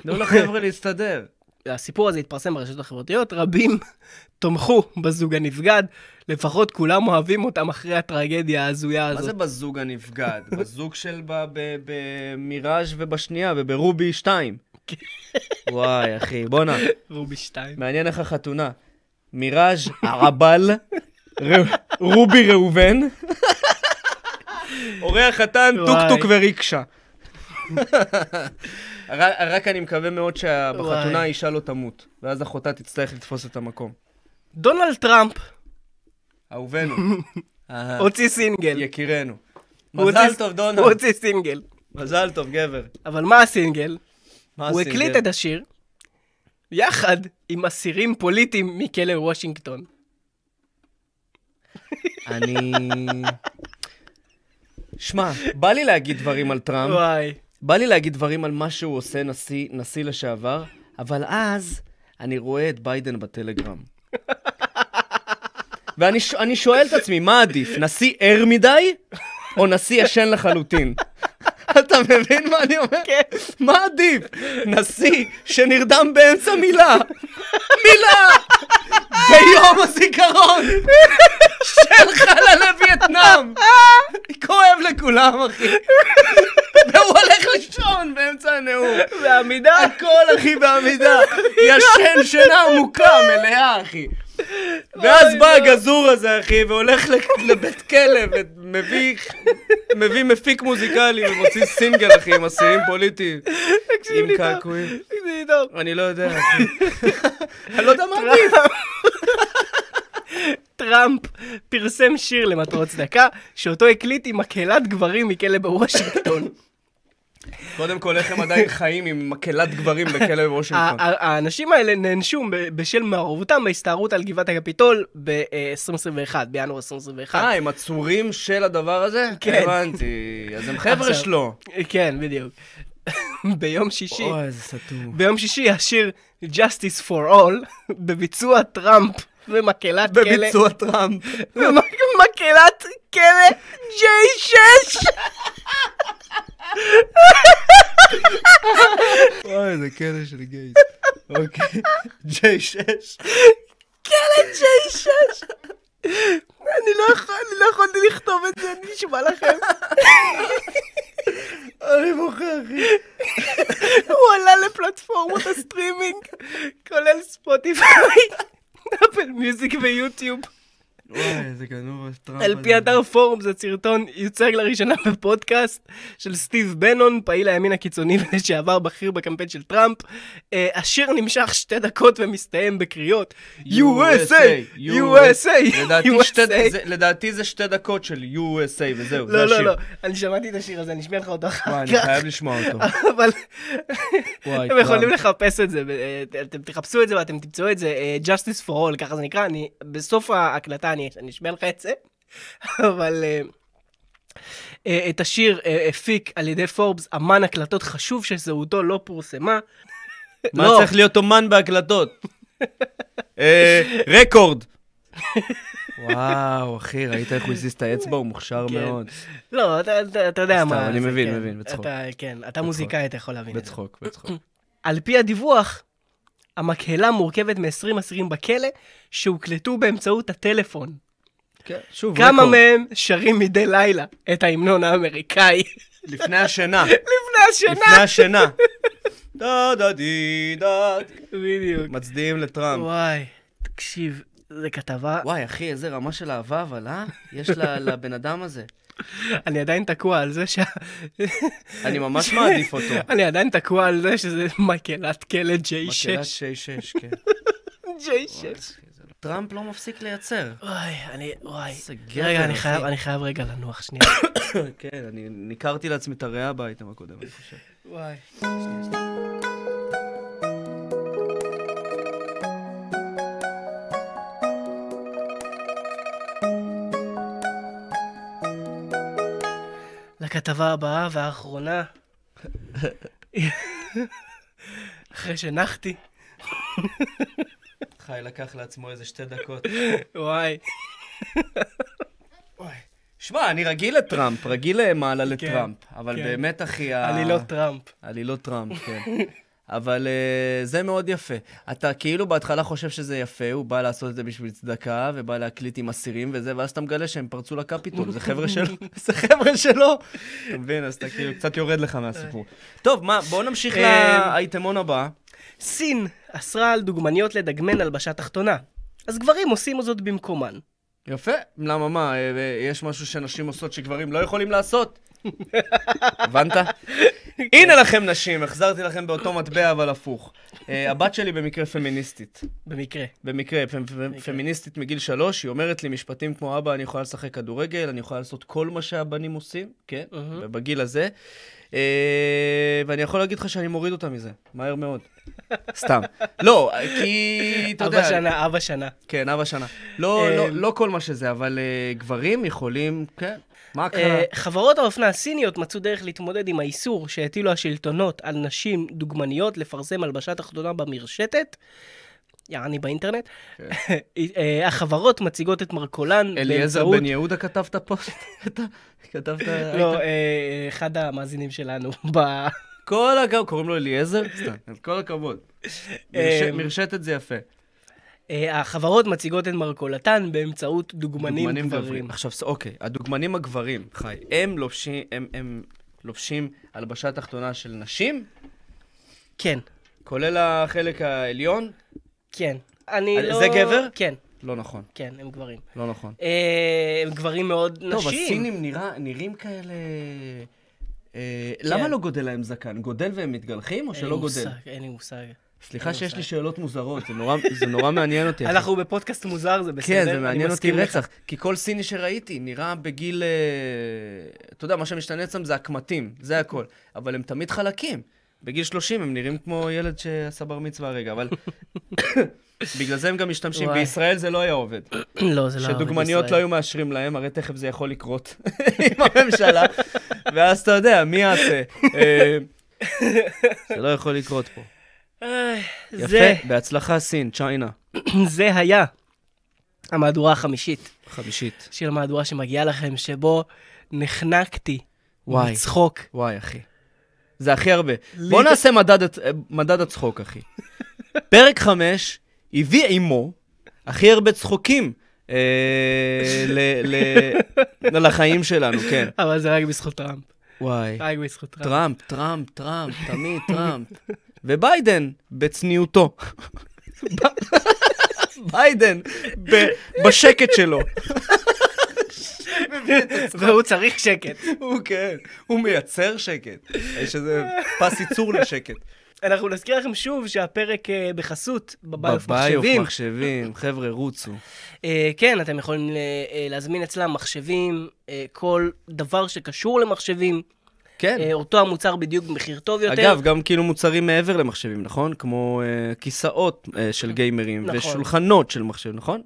Speaker 1: תנו לחבר'ה להסתדר.
Speaker 2: הסיפור הזה התפרסם ברשתות החברתיות, רבים תמכו בזוג הנבגד, לפחות כולם אוהבים אותם אחרי הטרגדיה ההזויה
Speaker 1: מה זה
Speaker 2: הזאת.
Speaker 1: בזוג הנפגד? בזוג של ב- ב- במיראז' ובשנייה וברובי 2. וואי, אחי, בואנה,
Speaker 2: רובי שתיים.
Speaker 1: מעניין איך החתונה. מיראז' ערבל, ר- רובי ראובן, אורח חתן,
Speaker 2: וואי.
Speaker 1: טוקטוק וריקשה. רק רק אני מקווה מאוד
Speaker 2: וואי.
Speaker 1: שבחתונה האישה לא תמות, ואז אחותה תצטרך לתפוס את המקום.
Speaker 2: דונלד טראמפ
Speaker 1: אה. אהובנו. אהה,
Speaker 2: הוציא סינגל.
Speaker 1: יקירנו.
Speaker 2: הוא
Speaker 1: מזל
Speaker 2: הוציא-
Speaker 1: טוב,
Speaker 2: הוא
Speaker 1: דונלד.
Speaker 2: הוציא סינגל.
Speaker 1: מזל טוב, גבר.
Speaker 2: אבל מה הסינגל?
Speaker 1: מה
Speaker 2: הוא
Speaker 1: הסינגל?
Speaker 2: הקליט את השיר יחד עם אסירים פוליטיים מכלא וושינגטון.
Speaker 1: אני... שמע, בא לי להגיד דברים על טראמפ,
Speaker 2: וואי.
Speaker 1: בא לי להגיד דברים על מה שהוא עושה נשיא, נשיא לשעבר, אבל אז אני רואה את ביידן בטלגרם. ואני ש- אני שואל את עצמי, מה עדיף, נשיא ער מדי, או נשיא ישן לחלוטין? אתה מבין מה אני אומר?
Speaker 2: כן.
Speaker 1: מה עדיף? נשיא שנרדם באמצע מילה, מילה, ביום הזיכרון של חללי וייטנאם. כואב לכולם, אחי. והוא
Speaker 2: בעמידה.
Speaker 1: הכל, אחי, בעמידה. ישן שינה עמוקה, מלאה, אחי. ואז
Speaker 2: אוי,
Speaker 1: בא
Speaker 2: לא.
Speaker 1: הגזור הזה, אחי, והולך לק- לבית כלא, ומביא מביא מפיק מוזיקלי, ומוציא סינגל, אחי, עם אסירים פוליטיים.
Speaker 2: תקשיב
Speaker 1: עם
Speaker 2: לי טוב.
Speaker 1: קעקועים.
Speaker 2: תקשיב לי טוב.
Speaker 1: אני לא יודע, אחי. אני לא יודע מה עדיף.
Speaker 2: טראמפ פרסם שיר למטרות צדקה, שאותו הקליט עם מקהלת גברים מכלא בוושינגטון.
Speaker 1: קודם כל, איך הם עדיין חיים עם מקהלת גברים בכלא בוושינגטון?
Speaker 2: ה- ה- האנשים האלה נענשו ב- בשל מעורבותם בהסתערות על גבעת הקפיטול אה, ב-2021, בינואר 2021.
Speaker 1: אה, הם עצורים של הדבר הזה?
Speaker 2: כן.
Speaker 1: הבנתי. אז הם חבר'ה
Speaker 2: עכשיו,
Speaker 1: שלו.
Speaker 2: כן, בדיוק. ביום שישי,
Speaker 1: אוי, איזה סתום.
Speaker 2: ביום שישי השיר Justice for All, בביצוע טראמפ ומקהלת כלא.
Speaker 1: בביצוע טראמפ.
Speaker 2: ומקהלת כלא J6!
Speaker 1: אוי, זה כלא של גייס. אוקיי. ג'יי 6.
Speaker 2: כלא J6! אני לא יכול- אני לא יכולתי לכתוב את זה, נשמע לכם.
Speaker 1: אני בוכה, אחי.
Speaker 2: הוא עלה לפלטפורמות הסטרימינג, כולל ספוטיפיי, אפל מיוזיק ויוטיוב.
Speaker 1: וואי, איזה גנוב הטראמפ.
Speaker 2: על פי
Speaker 1: הזה.
Speaker 2: אתר פורום זה סרטון יוצג לראשונה בפודקאסט של סטיב בנון, פעיל הימין הקיצוני ולשעבר בכיר בקמפיין של טראמפ. אה, השיר נמשך שתי דקות ומסתיים בקריאות USA! USA!
Speaker 1: לדעתי שתי-
Speaker 2: USA.
Speaker 1: זה- לדעתי זה שתי דקות של USA וזהו, זה
Speaker 2: לא,
Speaker 1: השיר.
Speaker 2: לא, לא, אני שמעתי את השיר הזה, אני אשמיע לך אותו
Speaker 1: וואי,
Speaker 2: אחר
Speaker 1: אני
Speaker 2: כך.
Speaker 1: חייב לשמוע אותו.
Speaker 2: אבל
Speaker 1: וואי,
Speaker 2: אתם יכולים
Speaker 1: טראמפ.
Speaker 2: לחפש את זה, ב- אה, אתם תחפשו את זה ואתם תמצאו את זה, אה, Justice for All, ככה זה נקרא, אני, בסוף ההקלטה אני אני אשמיע לך את זה, אבל אה, אה, את השיר אה, הפיק על ידי פורבס אמן הקלטות חשוב שזהותו לא פורסמה.
Speaker 1: מה
Speaker 2: לא.
Speaker 1: צריך להיות אומן בהקלטות? אה, רקורד. וואו, אחי, ראית איך הוא הזיז את האצבע? הוא מוכשר
Speaker 2: כן.
Speaker 1: מאוד.
Speaker 2: לא, אתה- אתה אתה יודע
Speaker 1: סתם,
Speaker 2: מה.
Speaker 1: אני
Speaker 2: זה,
Speaker 1: מבין,
Speaker 2: כן.
Speaker 1: מבין, בצחוק.
Speaker 2: אתה- כן, אתה מוזיקאי, אתה יכול להבין. את זה.
Speaker 1: בצחוק, בצחוק.
Speaker 2: על פי הדיווח, המקהלה מורכבת מ-20 אסירים בכלא שהוקלטו באמצעות הטלפון.
Speaker 1: כן, שוב,
Speaker 2: כמה
Speaker 1: רקורד.
Speaker 2: מהם שרים מדי לילה את ההמנון האמריקאי
Speaker 1: לפני השינה.
Speaker 2: לפני השינה.
Speaker 1: לפני השינה. דה דה די דה.
Speaker 2: בדיוק.
Speaker 1: מצדיעים לטראמפ.
Speaker 2: וואי, תקשיב, זו כתבה,
Speaker 1: וואי, אחי, איזה רמה של אהבה, אבל אה? יש ל- לבן אדם הזה.
Speaker 2: אני עדיין תקוע על זה ש...
Speaker 1: אני ממש מעדיף אותו.
Speaker 2: אני עדיין תקוע על זה שזה מקהלת כלא
Speaker 1: מקהלת
Speaker 2: J6.
Speaker 1: 6-6, כן.
Speaker 2: J6.
Speaker 1: טראמפ לא מפסיק לייצר.
Speaker 2: וואי, אני, וואי.
Speaker 1: איזה גבר,
Speaker 2: רגע, אני
Speaker 1: אחי.
Speaker 2: חייב, אני חייב רגע לנוח שנייה.
Speaker 1: כן, אני ניכרתי לעצמי את הריאה באייטם הקודם, אני חושב.
Speaker 2: וואי. לכתבה הבאה והאחרונה. אחרי שנחתי,
Speaker 1: חי לקח לעצמו איזה שתי דקות.
Speaker 2: וואי.
Speaker 1: שמע, אני רגיל לטראמפ, רגיל למעלה לטראמפ. אבל
Speaker 2: כן.
Speaker 1: באמת, אחי, ה-
Speaker 2: אני לא טראמפ.
Speaker 1: אני לא טראמפ, כן. אבל אה, זה מאוד יפה. אתה כאילו בהתחלה חושב שזה יפה, הוא בא לעשות את זה בשביל צדקה, ובא להקליט עם אסירים וזה, ואז אתה מגלה שהם פרצו לקפיטול, זה חבר'ה שלו, זה חבר'ה שלו. אתה מבין, אז אתה כאילו קצת יורד לך מהסיפור. טוב, מה, בואו נמשיך
Speaker 2: אמ,
Speaker 1: לאייטמון הבא.
Speaker 2: סין אסרה על דוגמניות לדגמן הלבשה תחתונה. אז גברים עושים זאת במקומן.
Speaker 1: יפה. למה, מה, אה, אה, יש משהו שנשים עושות שגברים לא יכולים לעשות? הבנת? הנה לכם נשים, החזרתי לכם באותו מטבע, אבל הפוך. אה, הבת שלי במקרה פמיניסטית.
Speaker 2: במקרה.
Speaker 1: במקרה, פ- פ- פמיניסטית מגיל שלוש, היא אומרת לי משפטים כמו, אבא, אני יכולה לשחק כדורגל, אני יכולה לעשות כל מה שהבנים עושים, כן,
Speaker 2: אהה.
Speaker 1: בגיל הזה. אה, ואני יכול להגיד לך שאני מוריד אותה מזה, מהר מאוד. סתם. לא, כי, אתה
Speaker 2: אבא
Speaker 1: יודע,
Speaker 2: שנה, אבא שנה.
Speaker 1: כן, אבא שנה. לא,
Speaker 2: אה,
Speaker 1: לא- לא כל מה שזה, אבל אה, גברים יכולים, כן. מה קרה?
Speaker 2: אה, חברות האופנה הסיניות מצאו דרך להתמודד עם האיסור שהטילו השלטונות על נשים דוגמניות לפרסם הלבשה תחתונה במרשתת, יעני באינטרנט.
Speaker 1: כן.
Speaker 2: אה, החברות מציגות את מרכולן
Speaker 1: אליעזר
Speaker 2: באמצעות...
Speaker 1: בן יהודה כתב את הפוסט? את ה- כתב את ה...
Speaker 2: לא, אה, אחד המאזינים שלנו ב-
Speaker 1: כל הכבוד, קוראים לו אליעזר? סתם, אז כל הכבוד. מרש-
Speaker 2: אמ,
Speaker 1: מרשתת זה יפה.
Speaker 2: אה, החברות מציגות את מרכולתן באמצעות דוגמנים גברים.
Speaker 1: עכשיו, ס- אוקיי, הדוגמנים הגברים, חי, הם לובשים, הם, הם לובשים הלבשה תחתונה של נשים,
Speaker 2: כן,
Speaker 1: כולל החלק העליון?
Speaker 2: כן. אני
Speaker 1: אה,
Speaker 2: לא...
Speaker 1: זה גבר?
Speaker 2: כן,
Speaker 1: לא נכון,
Speaker 2: כן, הם גברים.
Speaker 1: לא נכון.
Speaker 2: אה, הם גברים מאוד נשים.
Speaker 1: טוב, הסינים נראה- נראים כאלה... אה, למה
Speaker 2: כן.
Speaker 1: לא גודל להם זקן? גודל והם מתגלחים או
Speaker 2: אין לי
Speaker 1: שלא גודל?
Speaker 2: מושג, אין לי מושג.
Speaker 1: סליחה
Speaker 2: אין לי
Speaker 1: שיש לי
Speaker 2: מושג.
Speaker 1: שאלות מוזרות, זה נורא- זה נורא מעניין אותי. אחי.
Speaker 2: אנחנו בפודקאסט מוזר, זה בסדר.
Speaker 1: כן, זה
Speaker 2: אני
Speaker 1: מעניין אותי
Speaker 2: מסכים לך.
Speaker 1: רצח. כי כל סיני שראיתי נראה בגיל... אה, אתה יודע, מה שמשתנה אצלם זה הקמטים, זה הכל. אבל הם תמיד חלקים. בגיל 30 הם נראים כמו ילד שעשה בר מצווה הרגע, אבל... בגלל זה הם גם משתמשים.
Speaker 2: וואי.
Speaker 1: בישראל זה לא היה עובד.
Speaker 2: לא, זה לא... עובד
Speaker 1: שדוגמניות
Speaker 2: בישראל.
Speaker 1: לא היו מאשרים להם, הרי תכף זה יכול לקרות עם הממשלה. ואז אתה יודע, מי יעשה? אה, זה לא יכול לקרות פה.
Speaker 2: אה, זה,
Speaker 1: יפה, בהצלחה סין, צ'יינה.
Speaker 2: זה היה המהדורה החמישית
Speaker 1: חמישית.
Speaker 2: של המהדורה שמגיעה לכם, שבו נחנקתי
Speaker 1: וואי.
Speaker 2: מצחוק.
Speaker 1: וואי, אחי. זה הכי הרבה.
Speaker 2: לי
Speaker 1: בוא
Speaker 2: זה-
Speaker 1: נעשה מדד, הצ- מדד הצחוק, אחי. פרק 5 הביא עימו הכי הרבה צחוקים אה, ל- ל- לחיים שלנו, כן.
Speaker 2: אבל זה רק בזכות טראמפ.
Speaker 1: וואי.
Speaker 2: רק בזכות טראמפ.
Speaker 1: טראמפ, טראמפ, טראמפ, תמיד טראמפ. וביידן, בצניעותו. ביידן, ב- בשקט שלו.
Speaker 2: והוא צריך שקט.
Speaker 1: הוא כן, הוא מייצר שקט. יש איזה פס ייצור לשקט.
Speaker 2: אנחנו נזכיר לכם שוב שהפרק אה, בחסות, בביוף מחשבים.
Speaker 1: מחשבים, חבר'ה, רוצו.
Speaker 2: אה, כן, אתם יכולים ל- אה, להזמין אצלם מחשבים, אה, כל דבר שקשור למחשבים.
Speaker 1: כן.
Speaker 2: אה, אותו המוצר בדיוק במחיר טוב יותר.
Speaker 1: אגב, גם כאילו מוצרים מעבר למחשבים, נכון? כמו אה, כיסאות אה, של גיימרים,
Speaker 2: נכון.
Speaker 1: ושולחנות של מחשב, נכון?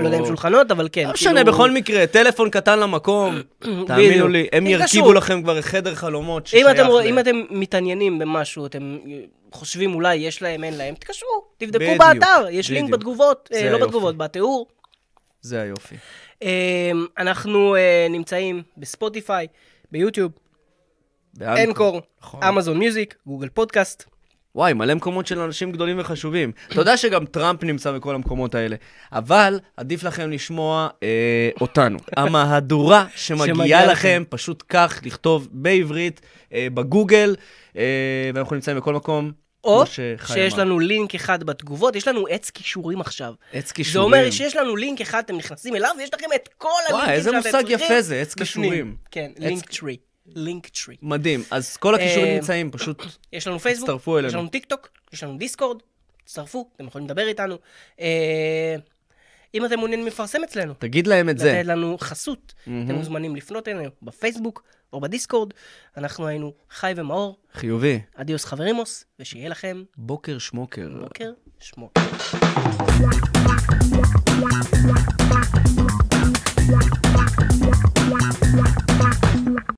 Speaker 2: לא יודע אם שולחנות, אבל כן.
Speaker 1: לא משנה, בכל מקרה, טלפון קטן למקום, תאמינו
Speaker 2: בדיוק.
Speaker 1: לי, הם
Speaker 2: תתקשרו.
Speaker 1: ירכיבו לכם כבר חדר חלומות
Speaker 2: אם
Speaker 1: ששייך
Speaker 2: אתם, רוא-
Speaker 1: ל-
Speaker 2: אם אתם מתעניינים במשהו, אתם אה, חושבים אולי יש להם, אין להם, תתקשרו, תבדקו
Speaker 1: בדיוק,
Speaker 2: באתר, יש לינק
Speaker 1: בדיוק.
Speaker 2: בתגובות, אה,
Speaker 1: זה
Speaker 2: לא
Speaker 1: היופי.
Speaker 2: בתגובות, בתיאור.
Speaker 1: זה היופי.
Speaker 2: אה, אנחנו אה, נמצאים בספוטיפיי, ביוטיוב,
Speaker 1: באנקור.
Speaker 2: אנקור,
Speaker 1: נכון.
Speaker 2: אמזון מיוזיק, גוגל פודקאסט.
Speaker 1: וואי, מלא מקומות של אנשים גדולים וחשובים. אתה יודע שגם טראמפ נמצא בכל המקומות האלה, אבל עדיף לכם לשמוע אה, אותנו. המהדורה שמגיעה
Speaker 2: שמגיעה
Speaker 1: לכם,
Speaker 2: לכם.
Speaker 1: פשוט כך, לכתוב בעברית, אה, בגוגל, אה, ואנחנו נמצאים בכל מקום.
Speaker 2: או
Speaker 1: כמו שחיים
Speaker 2: שיש
Speaker 1: אמר.
Speaker 2: לנו לינק אחד בתגובות, יש לנו עץ כישורים עכשיו.
Speaker 1: עץ
Speaker 2: זה
Speaker 1: כישורים.
Speaker 2: אומר שיש לנו לינק אחד, אתם נכנסים אליו, ויש לכם את כל הלינקים שאתם
Speaker 1: וואי, איזה
Speaker 2: צריכים.
Speaker 1: מושג יפה זה, עץ
Speaker 2: בפנים.
Speaker 1: כישורים.
Speaker 2: כן,
Speaker 1: עץ-
Speaker 2: לינק טרי. לינק טרי.
Speaker 1: מדהים. אז כל הכישורים
Speaker 2: אה,
Speaker 1: נמצאים, פשוט
Speaker 2: יש לנו פייסבוק,
Speaker 1: הצטרפו אלינו.
Speaker 2: יש לנו טיק טוק, יש לנו דיסקורד, תצטרפו, אתם יכולים לדבר איתנו. אה, אם אתם מעוניינים לפרסם אצלנו,
Speaker 1: תגיד להם את זה.
Speaker 2: לתת לנו חסות, אתם מוזמנים לפנות אלינו בפייסבוק או בדיסקורד. אנחנו היינו חי ומאור,
Speaker 1: חיובי.
Speaker 2: אדיוס חברימוס, ושיהיה לכם
Speaker 1: בוקר שמוקר.
Speaker 2: בוקר שמור.